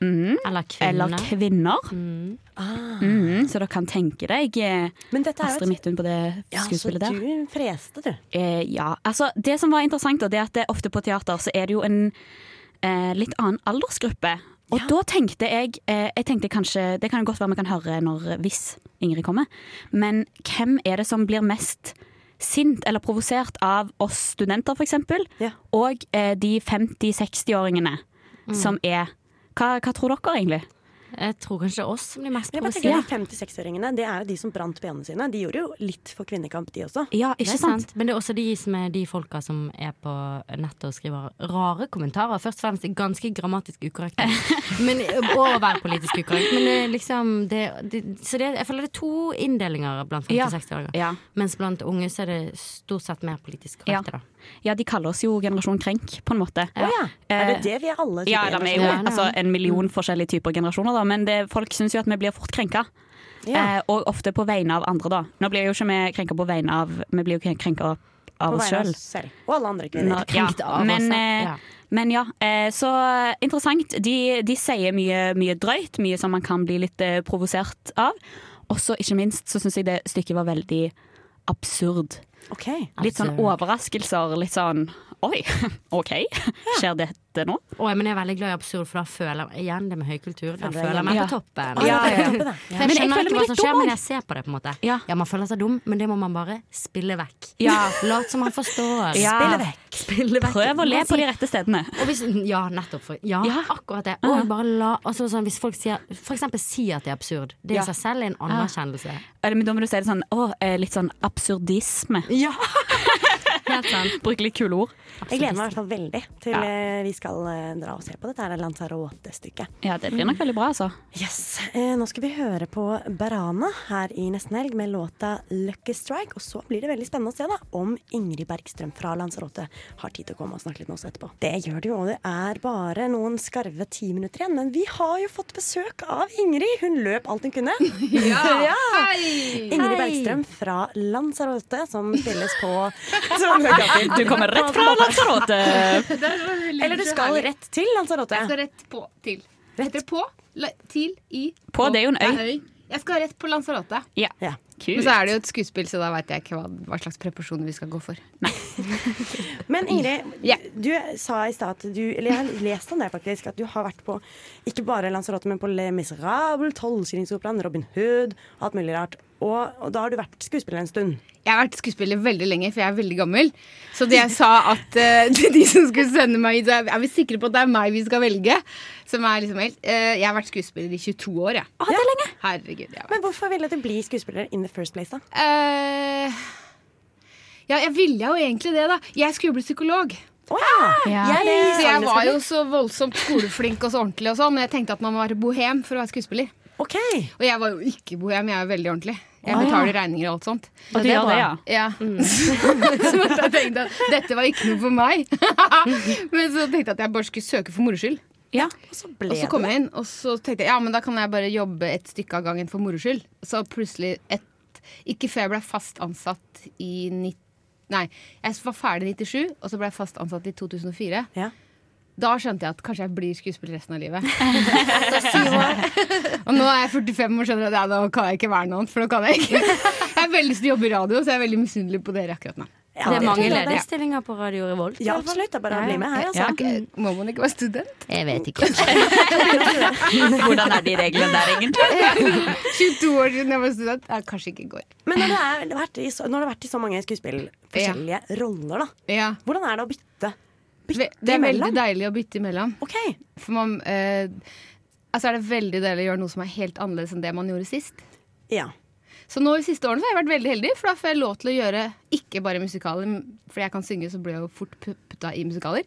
[SPEAKER 3] Mhm.
[SPEAKER 2] Eller
[SPEAKER 3] Eller
[SPEAKER 2] kvinner.
[SPEAKER 3] kvinner. Mhm, så dere kan tenke deg eh,
[SPEAKER 1] Mm. Ah. er jo
[SPEAKER 3] Astrid
[SPEAKER 1] et-
[SPEAKER 3] Midthun på det
[SPEAKER 1] Ja, så
[SPEAKER 3] skuespillet der.
[SPEAKER 1] du freste, du.
[SPEAKER 3] Eh, ja, altså Det som var interessant, da, det er at det, ofte på teater så er det jo en eh, litt annen aldersgruppe. Og da tenkte jeg eh, Jeg tenkte kanskje, Det kan jo godt være vi kan høre når, hvis Ingrid kommer. Men hvem er det som blir mest sint eller provosert av oss studenter, f.eks.?
[SPEAKER 1] Ja.
[SPEAKER 3] Og eh, de 50-60-åringene
[SPEAKER 2] Mm.
[SPEAKER 3] som er hva, hva tror dere, egentlig?
[SPEAKER 2] Jeg tror kanskje oss som blir mest
[SPEAKER 1] Men jeg bare tenker, De 56-åringene det er jo de som brant peene sine. De gjorde jo litt for kvinnekamp, de også.
[SPEAKER 2] Det er Men det er også de som er de folka som er på nettet og skriver rare kommentarer. Først og fremst ganske grammatisk ukorrekte. Men, og være politisk ukorrekt. Men det er liksom det, det, Så det, jeg føler det er to inndelinger blant 50-60-åringer.
[SPEAKER 3] Ja.
[SPEAKER 2] Mens blant unge så er det stort sett mer politisk
[SPEAKER 3] Ja.
[SPEAKER 2] korrekte, da.
[SPEAKER 3] ja, de kaller oss jo generasjon krenk, på en måte. Eh,
[SPEAKER 2] Å ja.
[SPEAKER 1] Er det det vi er alle typer
[SPEAKER 3] Ja, eller vi er jo
[SPEAKER 1] generasjoner?
[SPEAKER 3] altså, en million forskjellige typer generasjoner, da, men det, folk syns jo at vi blir fort krenka.
[SPEAKER 1] Ja.
[SPEAKER 3] Eh, og ofte på vegne av andre, da. Nå blir jo ikke vi krenka på vegne av Vi blir jo krenka av
[SPEAKER 1] På
[SPEAKER 3] oss
[SPEAKER 1] vegne av
[SPEAKER 3] sjøl.
[SPEAKER 1] oss selv. Og alle andre kvinner.
[SPEAKER 3] Nå- Ja. Men, eh, men ja, eh, så interessant. De, de sier mye, mye drøyt, mye som man kan bli litt eh, provosert av. Og så ikke minst så syns jeg det stykket var veldig absurd. Litt sånn
[SPEAKER 2] Absurd.
[SPEAKER 3] overraskelser, litt sånn oi, OK, skjer dette nå?
[SPEAKER 2] Å, men jeg er veldig glad i absurd, for da føler jeg igjen det med høykultur. Da
[SPEAKER 3] Føler jeg
[SPEAKER 2] føler jeg meg
[SPEAKER 3] hjemme.
[SPEAKER 2] på toppen.
[SPEAKER 3] Ja. Ja, ja, ja. Ja.
[SPEAKER 2] For
[SPEAKER 3] Men
[SPEAKER 2] jeg
[SPEAKER 3] jeg
[SPEAKER 2] skjønner
[SPEAKER 3] føler
[SPEAKER 2] ikke
[SPEAKER 3] meg
[SPEAKER 2] hva
[SPEAKER 3] litt
[SPEAKER 2] som
[SPEAKER 3] dum,
[SPEAKER 2] skjer, men
[SPEAKER 3] jeg.
[SPEAKER 2] jeg ser på det, på en måte.
[SPEAKER 3] Ja.
[SPEAKER 2] man føler seg dum, men det må man bare spille vekk.
[SPEAKER 3] Ja.
[SPEAKER 2] Lat som man forstår.
[SPEAKER 3] Ja.
[SPEAKER 2] Spille vekk.
[SPEAKER 3] Prøv å le
[SPEAKER 2] Bare
[SPEAKER 3] på
[SPEAKER 2] si-
[SPEAKER 3] de rette stedene.
[SPEAKER 2] Og hvis, ja, nettopp. For, ja, akkurat det. Og bare la, altså, sånn, hvis folk sier, for eksempel sier at det er absurd, det i
[SPEAKER 3] Ja.
[SPEAKER 2] seg selv er en
[SPEAKER 3] Ja.
[SPEAKER 2] anerkjennelse.
[SPEAKER 3] Eller, men da må du si det sånn å, eh, litt sånn absurdisme.
[SPEAKER 2] Ja, helt sant.
[SPEAKER 3] Bruke litt kule ord.
[SPEAKER 1] Jeg gleder meg i hvert fall veldig til
[SPEAKER 3] Ja.
[SPEAKER 1] eh, vi skal eh, dra og se på dette her Lanzarote-stykket.
[SPEAKER 3] Ja, det blir nok veldig bra, altså.
[SPEAKER 1] Yes. Eh, nå skal vi høre på Berana her i Nesten Helg med låta 'Lucky Strike'. Og så blir det veldig spennende å se da, om Ingrid Bergstrøm fra Lanzarote har tid til å komme og snakke litt med oss etterpå. Det gjør det jo, og det er bare noen skarve ti minutter igjen. Men vi har jo fått besøk av Ingrid. Hun løp alt hun kunne.
[SPEAKER 21] Ja.
[SPEAKER 1] Hei! Ingrid Bergstrøm fra Lanzarote, som spilles på Trondheim.
[SPEAKER 3] Du kommer rett fra Lanzarote.
[SPEAKER 21] Det er så hyggelig.
[SPEAKER 1] Eller du skal rett til Lanzarote.
[SPEAKER 21] Jeg skal rett på til. Rett på, la, til, i
[SPEAKER 3] På, det er jo en øy.
[SPEAKER 21] Jeg skal rett på Lanzarote.
[SPEAKER 3] Ja.
[SPEAKER 21] Men så er det jo et skuespill, så da veit jeg ikke hva, hva slags preposjoner vi skal gå for.
[SPEAKER 1] Men Ingrid, du sa i stad at du Eller jeg har lest om det, faktisk. At du har vært på ikke bare Lanzarote, men på Le Miserable, Tolvskillingsoperaen, Robin Hood, alt mulig rart. Og, og da har du vært skuespiller en stund.
[SPEAKER 21] Jeg har vært skuespiller veldig lenge, for jeg er veldig gammel. Så det jeg sa at eh, til de som skulle sende meg hit, så er er vi sikre på at det er meg vi skal velge. Som er liksom helt eh, Jeg har vært skuespiller i 22 år, jeg.
[SPEAKER 1] det er lenge.
[SPEAKER 21] Herregud, jeg har
[SPEAKER 1] Men hvorfor ville du bli skuespiller in the first place, da?
[SPEAKER 21] Eh, ja, jeg ville jo egentlig det, da. Jeg skulle bli psykolog.
[SPEAKER 1] Ja,
[SPEAKER 21] Jeg,
[SPEAKER 1] det er
[SPEAKER 21] så jeg
[SPEAKER 1] alle
[SPEAKER 21] var
[SPEAKER 1] skal
[SPEAKER 21] jo
[SPEAKER 1] bli.
[SPEAKER 21] så voldsomt skoleflink og så ordentlig, og sånn, men jeg tenkte at man må være bohem for å være skuespiller. Og jeg var jo ikke bohem, jeg er jo veldig ordentlig. Jeg
[SPEAKER 3] Ah, ja.
[SPEAKER 21] betaler regninger og alt sånt.
[SPEAKER 3] Og du gjør det, ja?
[SPEAKER 21] ja. så jeg tenkte at dette var ikke noe for meg. men så tenkte jeg at jeg bare skulle søke for moro skyld.
[SPEAKER 1] Og så
[SPEAKER 21] Og så kom jeg inn, og så tenkte jeg ja, men da kan jeg bare jobbe et stykke av gangen for moro skyld. Så plutselig, et, ikke før jeg ble fast ansatt i ni, Nei, jeg var ferdig i 97, og så ble jeg fast ansatt i 2004. Da skjønte jeg at kanskje jeg blir skuespiller resten av livet. og nå er jeg 45 og skjønner at ja, nå kan jeg ikke være noe annet, for nå kan jeg ikke. Jeg har veldig lyst til å jobbe i radio, så jeg er veldig misunnelig på dere akkurat nå.
[SPEAKER 2] det er mange ledige stillinger på Radio Revolt. i
[SPEAKER 21] Ja,
[SPEAKER 2] hvert fall.
[SPEAKER 21] absolutt, det er bare å
[SPEAKER 2] Ja,
[SPEAKER 21] bli
[SPEAKER 2] ja.
[SPEAKER 21] med her, altså. Ok, Må man ikke være student?
[SPEAKER 2] Jeg vet ikke.
[SPEAKER 3] Hvordan er de reglene der, egentlig?
[SPEAKER 21] 22 år siden jeg var student. Ja, kanskje ikke i går.
[SPEAKER 1] Men når du, er, du har vært i, så- når du har vært i så mange skuespill, forskjellige roller, da. Hvordan er det å bytte?
[SPEAKER 21] Ve- Det er veldig
[SPEAKER 1] imellom?
[SPEAKER 21] deilig å bytte imellom. For man eh, Altså er det veldig deilig å gjøre noe som er helt annerledes enn det man gjorde sist. Så nå i siste årene så har jeg vært veldig heldig, for da får jeg lov til å gjøre ikke bare musikaler, m- fordi jeg kan synge, så blir jeg jo fort pu- putta i musikaler.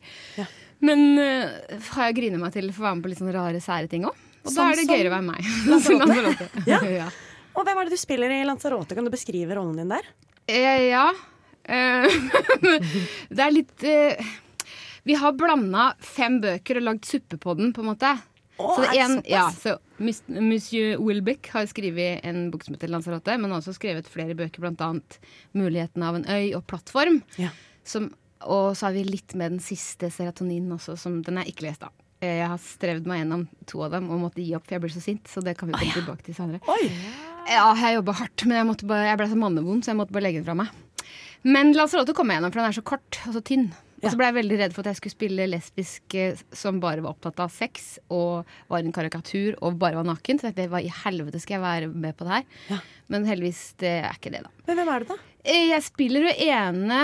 [SPEAKER 21] Men øh, har jeg grina meg til å få være med på litt sånne rare, sære ting òg. Og da
[SPEAKER 1] Sånn
[SPEAKER 21] er det
[SPEAKER 1] som
[SPEAKER 21] gøyere å være meg.
[SPEAKER 1] Lanzarote.
[SPEAKER 21] Lanzarote.
[SPEAKER 1] Ja.
[SPEAKER 21] ja.
[SPEAKER 1] Og hvem er det du spiller i Lanzarote? Kan du beskrive rollen din der?
[SPEAKER 21] Eh, ja. Eh, det er litt eh, Vi har blanda fem bøker og lagd suppe på den, på en måte.
[SPEAKER 15] Å,
[SPEAKER 21] så det
[SPEAKER 15] er det
[SPEAKER 21] en,
[SPEAKER 15] såpass?
[SPEAKER 21] ja, så Mus- Monsieur Wilbeck har skrevet en bok som heter 'Lanzarote', men også skrevet flere bøker, bl.a. 'Muligheten av en øy' og 'Plattform'. Som, og så har vi litt med den siste serotoninen også, som den er ikke lest av. Eh, Jeg har strevd meg gjennom to av dem og måtte gi opp, for jeg ble så sint. Så det kan vi komme tilbake til senere. Ja, jeg jobba hardt, men jeg, måtte bare, jeg ble så mannevond, så jeg måtte bare legge den fra meg. Men Lanzarote kom jeg gjennom, for den er så kort og så tynn. Og så ble jeg veldig redd for at jeg skulle spille lesbisk eh, som bare var opptatt av sex og var en karikatur og bare var naken. Så jeg tenkte, hva i helvete skal jeg være med på det her? Men heldigvis, det er ikke det, da.
[SPEAKER 1] Men hvem er det, da?
[SPEAKER 21] Eh, Jeg spiller jo ene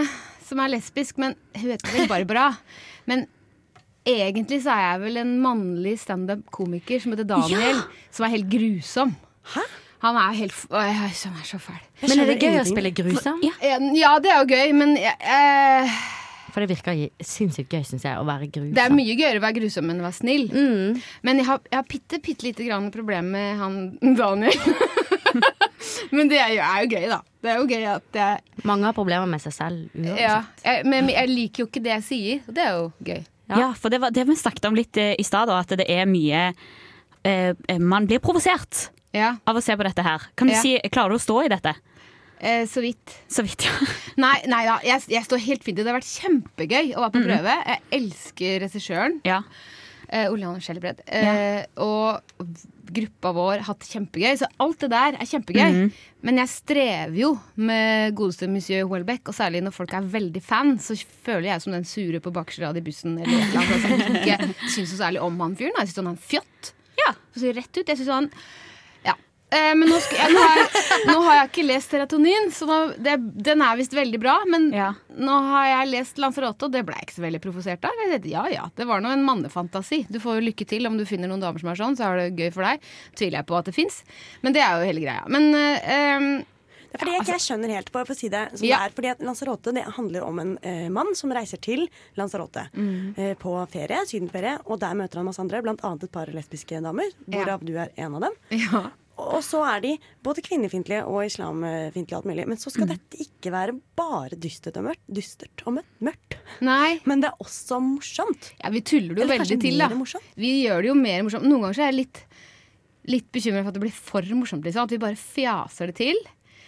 [SPEAKER 21] som er lesbisk, men hun heter vel Barbara. Men egentlig så er jeg vel en mannlig standup-komiker som heter Daniel,
[SPEAKER 15] Ja!
[SPEAKER 21] som er helt grusom. Han er helt f- Åh, jeg- Han er så fæl.
[SPEAKER 2] Jeg Men er det skjønner gøy å ingenting. spille grusom?
[SPEAKER 21] Ja. ja, det er jo gøy, men jeg, eh,
[SPEAKER 2] For det virker gi- sinnssykt gøy, syns jeg, å være grusom. Mm.
[SPEAKER 21] det er mye gøyere å være grusom enn å være snill. Men jeg har, jeg har bitte, bitte lite grann problem med han Daniel. men det er jo, er jo gøy, da. Det er jo gøy at jeg
[SPEAKER 2] Mange har problemer med seg selv uansett.
[SPEAKER 21] Ja, jeg, men jeg liker jo ikke det jeg sier, og det er jo gøy.
[SPEAKER 3] Ja, for det, var, det vi snakket om litt eh, i stad, da, at det er mye eh, Man blir provosert av å se på dette her. Kan du
[SPEAKER 21] Ja.
[SPEAKER 3] si, Klarer du å stå i dette?
[SPEAKER 21] Eh, så vidt.
[SPEAKER 3] Så vidt, ja.
[SPEAKER 21] Nei, nei da, jeg, jeg står helt fint i det. Det har vært kjempegøy å være på
[SPEAKER 3] Mhm.
[SPEAKER 21] prøve. Jeg elsker regissøren.
[SPEAKER 3] Mm.
[SPEAKER 21] Eh, Oleanne Skjellebred. Eh, Og gruppa vår har hatt kjempegøy. Så alt det der er kjempegøy.
[SPEAKER 3] Mm.
[SPEAKER 15] Mhm.
[SPEAKER 21] Men jeg strever jo med godeste monsieur Houellebecq, og særlig når folk er veldig fan, så føler jeg som den sure på bakerste rad i bussen eller et eller annet, som ikke syns så særlig om han fyren. da. Jeg syns han er en fjott. For å si det rett ut. Jeg synes han Ja. Eh, men nå, skal, jeg, nå, har jeg, nå har jeg ikke lest Teratonin, så nå, det, den er visst veldig bra. Men nå har jeg lest Lanzarote, og det ble jeg ikke så veldig provosert av. Jeg tenkte, Ja ja, det var nå en mannefantasi. Du får jo lykke til om du finner noen damer som er sånn, så er det gøy for deg. Tviler jeg på at det fins. Men det er jo hele greia. Men eh, em,
[SPEAKER 1] Det er fordi jeg ikke skjønner helt på, på å si det som
[SPEAKER 21] altså- Ja.
[SPEAKER 1] det er. Fordi at Lanzarote det handler om en eh, mann som reiser til Lanzarote
[SPEAKER 21] Mm.
[SPEAKER 1] eh, på ferie, sydenferie, og der møter han masse andre, blant annet et par lesbiske damer, hvorav du er en av dem. Og så er de både kvinnefiendtlige og islamfiendtlige og alt mulig. Men så
[SPEAKER 21] Mm.
[SPEAKER 1] skal dette ikke være bare dystert og mørkt. Dystert og mørkt- mørkt. Men det er også morsomt.
[SPEAKER 21] Ja, vi tuller det jo
[SPEAKER 1] Eller
[SPEAKER 21] veldig
[SPEAKER 1] kanskje
[SPEAKER 21] til, da.
[SPEAKER 1] mer morsomt.
[SPEAKER 21] Vi gjør det jo mer morsomt. Noen ganger så er jeg litt, litt bekymra for at det blir for morsomt, liksom. At vi bare fjaser det til.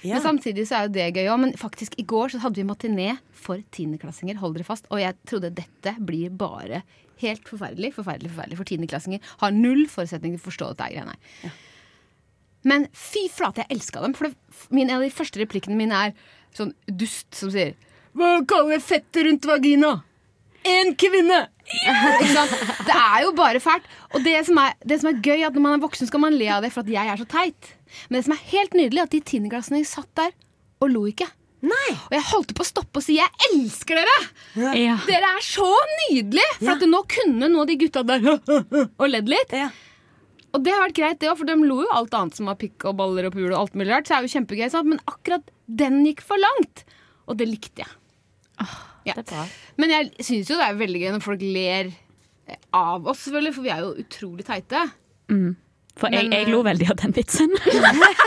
[SPEAKER 15] Ja.
[SPEAKER 21] Men samtidig så er jo det gøy òg. Men faktisk, i går så hadde vi matiné for tiendeklassinger, hold dere fast. Og jeg trodde dette blir bare helt forferdelig, forferdelig, forferdelig. For tiendeklassinger har null forutsetninger for å forstå dette her greiene her. Men fy flate, jeg elska dem. For det, min, en av de første replikkene mine er sånn dust som sier Hva kaller jeg fettet rundt vagina? En kvinne! Ikke sant? det er jo bare fælt. Og det som, er, det som er gøy, er at når man er voksen, skal man le av det for at jeg er så teit. Men det som er helt nydelig, er at de tiendeklassene satt der og lo ikke. Og jeg holdt på å stoppe og si 'jeg elsker dere'!
[SPEAKER 15] Ja.
[SPEAKER 21] Dere er så nydelige! For at nå kunne nå de gutta der og ledd litt. Og det har vært greit, det òg, for de lo jo alt annet som var pikk og baller og pul og alt mulig rart. Så det er jo kjempegøy, sant? Men akkurat den gikk for langt. Og det likte jeg. Ja. Men jeg syns jo det er veldig gøy når folk ler eh, av oss, selvfølgelig, for vi er jo utrolig teite.
[SPEAKER 3] Mm. For jeg,
[SPEAKER 21] Men, eh,
[SPEAKER 3] jeg lo veldig av den vitsen.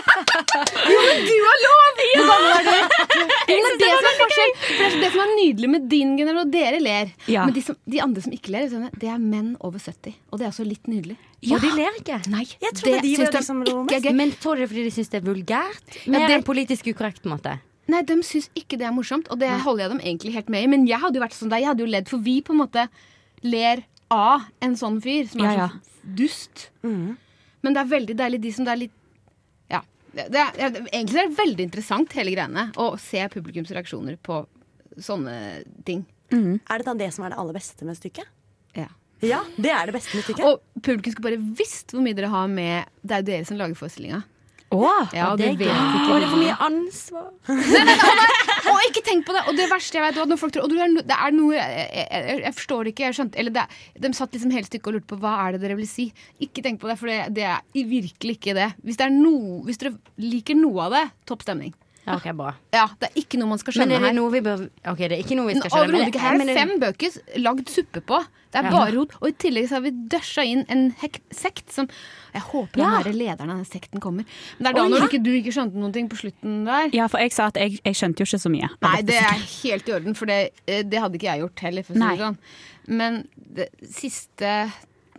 [SPEAKER 21] Jo, men du har lov!
[SPEAKER 3] Ja!
[SPEAKER 21] Jo,
[SPEAKER 3] synes
[SPEAKER 21] men det
[SPEAKER 3] det var
[SPEAKER 21] som
[SPEAKER 3] veldig
[SPEAKER 21] er forskjell, for det er det som er nydelig med din generasjon, dere ler.
[SPEAKER 3] Ja.
[SPEAKER 21] Men de, som, de andre som ikke ler, det er menn over 70. Og det er også litt nydelig.
[SPEAKER 2] Og de ler ikke.
[SPEAKER 21] Nei,
[SPEAKER 2] Det syns de
[SPEAKER 21] ikke er gøy.
[SPEAKER 2] Men tror dere fordi de syns det er vulgært? Mer
[SPEAKER 21] det-
[SPEAKER 2] enn politisk ukorrekt måte.
[SPEAKER 21] Nei, de syns ikke det er morsomt, og det holder jeg dem egentlig helt med i. Men jeg hadde jo vært sånn der, jeg hadde jo ledd, for vi på en måte ler av en sånn fyr som er
[SPEAKER 3] Ja,
[SPEAKER 21] så dust. Men det er veldig deilig de som det er litt Ja. Det det er, ja, det- egentlig er det veldig interessant, hele greiene, å se publikums reaksjoner på sånne ting.
[SPEAKER 1] Er det da det som er det aller beste med stykket?
[SPEAKER 21] Ja.
[SPEAKER 1] Ja, det er det beste med stykket.
[SPEAKER 21] Og publikum skulle bare visst hvor mye dere har med Det er jo dere som lager forestillinga.
[SPEAKER 2] Åh,
[SPEAKER 21] Ja,
[SPEAKER 2] Ah, det
[SPEAKER 21] du vet
[SPEAKER 2] er gøy.
[SPEAKER 21] ikke.
[SPEAKER 2] Åh, det er for mye ansvar.
[SPEAKER 21] Og ikke tenk på det! Og det verste jeg vet, var at når folk tror og det er no- det er noe jeg, jeg, jeg, jeg forstår det ikke. Jeg skjønte, eller det, er- de satt liksom hele stykket og lurte på hva er det dere vil si. Ikke tenk på det, for det, det er i- virkelig ikke det. Hvis, det er no, hvis dere liker noe av det, topp stemning.
[SPEAKER 2] Ja, ok, bra.
[SPEAKER 21] Ja, Det er ikke noe man skal
[SPEAKER 2] Men
[SPEAKER 21] skjønne
[SPEAKER 2] er det
[SPEAKER 21] her.
[SPEAKER 2] noe vi bør Ok, det er ikke noe vi skal skjønne. men
[SPEAKER 21] Overhodet
[SPEAKER 2] det-
[SPEAKER 21] ikke. Her
[SPEAKER 2] men
[SPEAKER 21] er
[SPEAKER 2] det-
[SPEAKER 21] fem bøker s- lagd suppe på. Det er
[SPEAKER 2] Ja.
[SPEAKER 21] bare rot. Og i tillegg så har vi døsja inn en hek sekt som Jeg håper
[SPEAKER 15] Ja.
[SPEAKER 21] den der lederen av den sekten kommer. Men det er da
[SPEAKER 3] Å,
[SPEAKER 21] når
[SPEAKER 3] ja.
[SPEAKER 21] ikke, du ikke skjønte noen ting på slutten der.
[SPEAKER 3] Ja, for jeg sa at jeg, jeg skjønte jo ikke så mye. av
[SPEAKER 21] Nei,
[SPEAKER 3] dette
[SPEAKER 21] det er
[SPEAKER 3] stykket.
[SPEAKER 21] helt i orden, for det, eh, det hadde ikke jeg gjort heller. For å si det sånn. Men det siste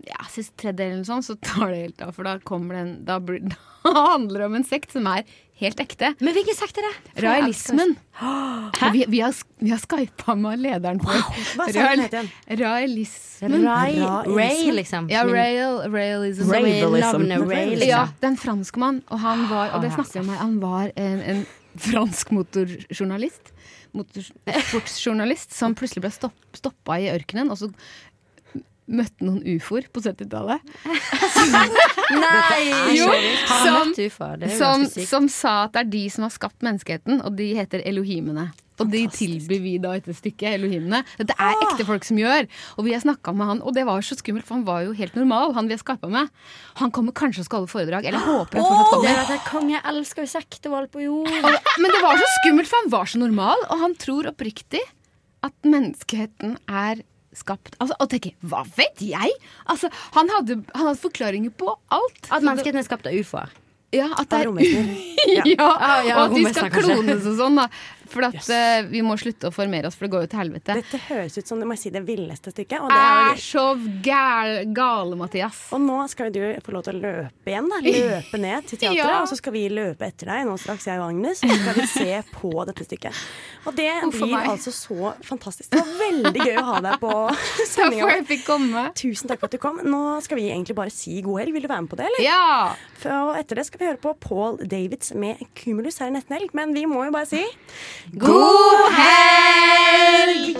[SPEAKER 21] ja, siste tredjedel eller sånn, så tar det helt av. For da kommer den Da, blir, da handler det om en sekt som er helt ekte.
[SPEAKER 2] Men hvilken sekt er det?
[SPEAKER 21] Raelismen. Og Vi, vi har, sk- vi har skypa med lederen for
[SPEAKER 2] Hva sa den het
[SPEAKER 21] Rael- Raelismen.
[SPEAKER 2] Rai- Ray, liksom.
[SPEAKER 21] Ja,
[SPEAKER 2] Som en-
[SPEAKER 21] rail, railism.
[SPEAKER 2] Som i Ravelism. navnet Ray, liksom. Ah,
[SPEAKER 21] Ja, det er en franskmann, og han var Og det
[SPEAKER 2] Å, ja.
[SPEAKER 21] snakker jeg om her, han var en, en fransk motorjournalist. Motors, sportsjournalist som plutselig ble stopp, stoppa i ørkenen, og så møtte noen ufoer på 70-tallet.
[SPEAKER 2] Nei!
[SPEAKER 21] Jo,
[SPEAKER 2] Har han
[SPEAKER 21] som,
[SPEAKER 2] møtt ufoer? Det er jo
[SPEAKER 21] som,
[SPEAKER 2] ganske sykt.
[SPEAKER 21] som sa at det er de som har skapt menneskeheten, og de heter
[SPEAKER 3] eh,
[SPEAKER 21] elohimene. Og de tilbyr vi da etter stykket, elohimene. Dette er ekte folk som gjør. Og vi har snakka med han, og det var så skummelt, for han var jo helt normal, han vi har skapa med. Han kommer kanskje og skal holde foredrag, eller jeg håper han fortsatt
[SPEAKER 2] Åh, det
[SPEAKER 21] kommer.
[SPEAKER 2] er at jeg konge jeg elsker jo sekter og alt på jord.
[SPEAKER 21] Og, men det var så skummelt, for han var så normal, og han tror oppriktig at menneskeheten er skapt altså, Og tenker 'hva vet jeg?' Altså, han hadde, han hadde forklaringer på alt.
[SPEAKER 2] At menneskeheten er skapt av ufoer.
[SPEAKER 21] Ja, at det er
[SPEAKER 2] Ja.
[SPEAKER 21] ja.
[SPEAKER 2] Ah, ja,
[SPEAKER 21] og at vi skal
[SPEAKER 2] romvesener, kanskje.
[SPEAKER 21] klones og sånn. da For at eh, vi må slutte å formere oss, for det går jo til helvete.
[SPEAKER 1] Dette høres ut som det, må jeg si, det villeste stykket. Og
[SPEAKER 21] Det
[SPEAKER 1] det er
[SPEAKER 21] er så gæl, gale, Mathias.
[SPEAKER 1] Og nå skal jo du få lov til å løpe igjen, da. Løpe ned til teatret,
[SPEAKER 21] Ja.
[SPEAKER 1] og så skal vi løpe etter deg nå straks, jeg og Agnes. Og så skal vi se på dette stykket. Og det
[SPEAKER 21] Uff, for
[SPEAKER 1] blir
[SPEAKER 21] meg.
[SPEAKER 1] altså så fantastisk. Det var veldig gøy å ha deg på sendinga.
[SPEAKER 21] for jeg fikk komme.
[SPEAKER 1] Tusen takk for at du kom. Nå skal vi egentlig bare si god helg. Vil du være med på det, eller?
[SPEAKER 21] Ja!
[SPEAKER 1] For, og etter det skal vi høre på Paul Davids med Cumulus her i Nettnelg, men vi må jo bare si
[SPEAKER 21] God helg!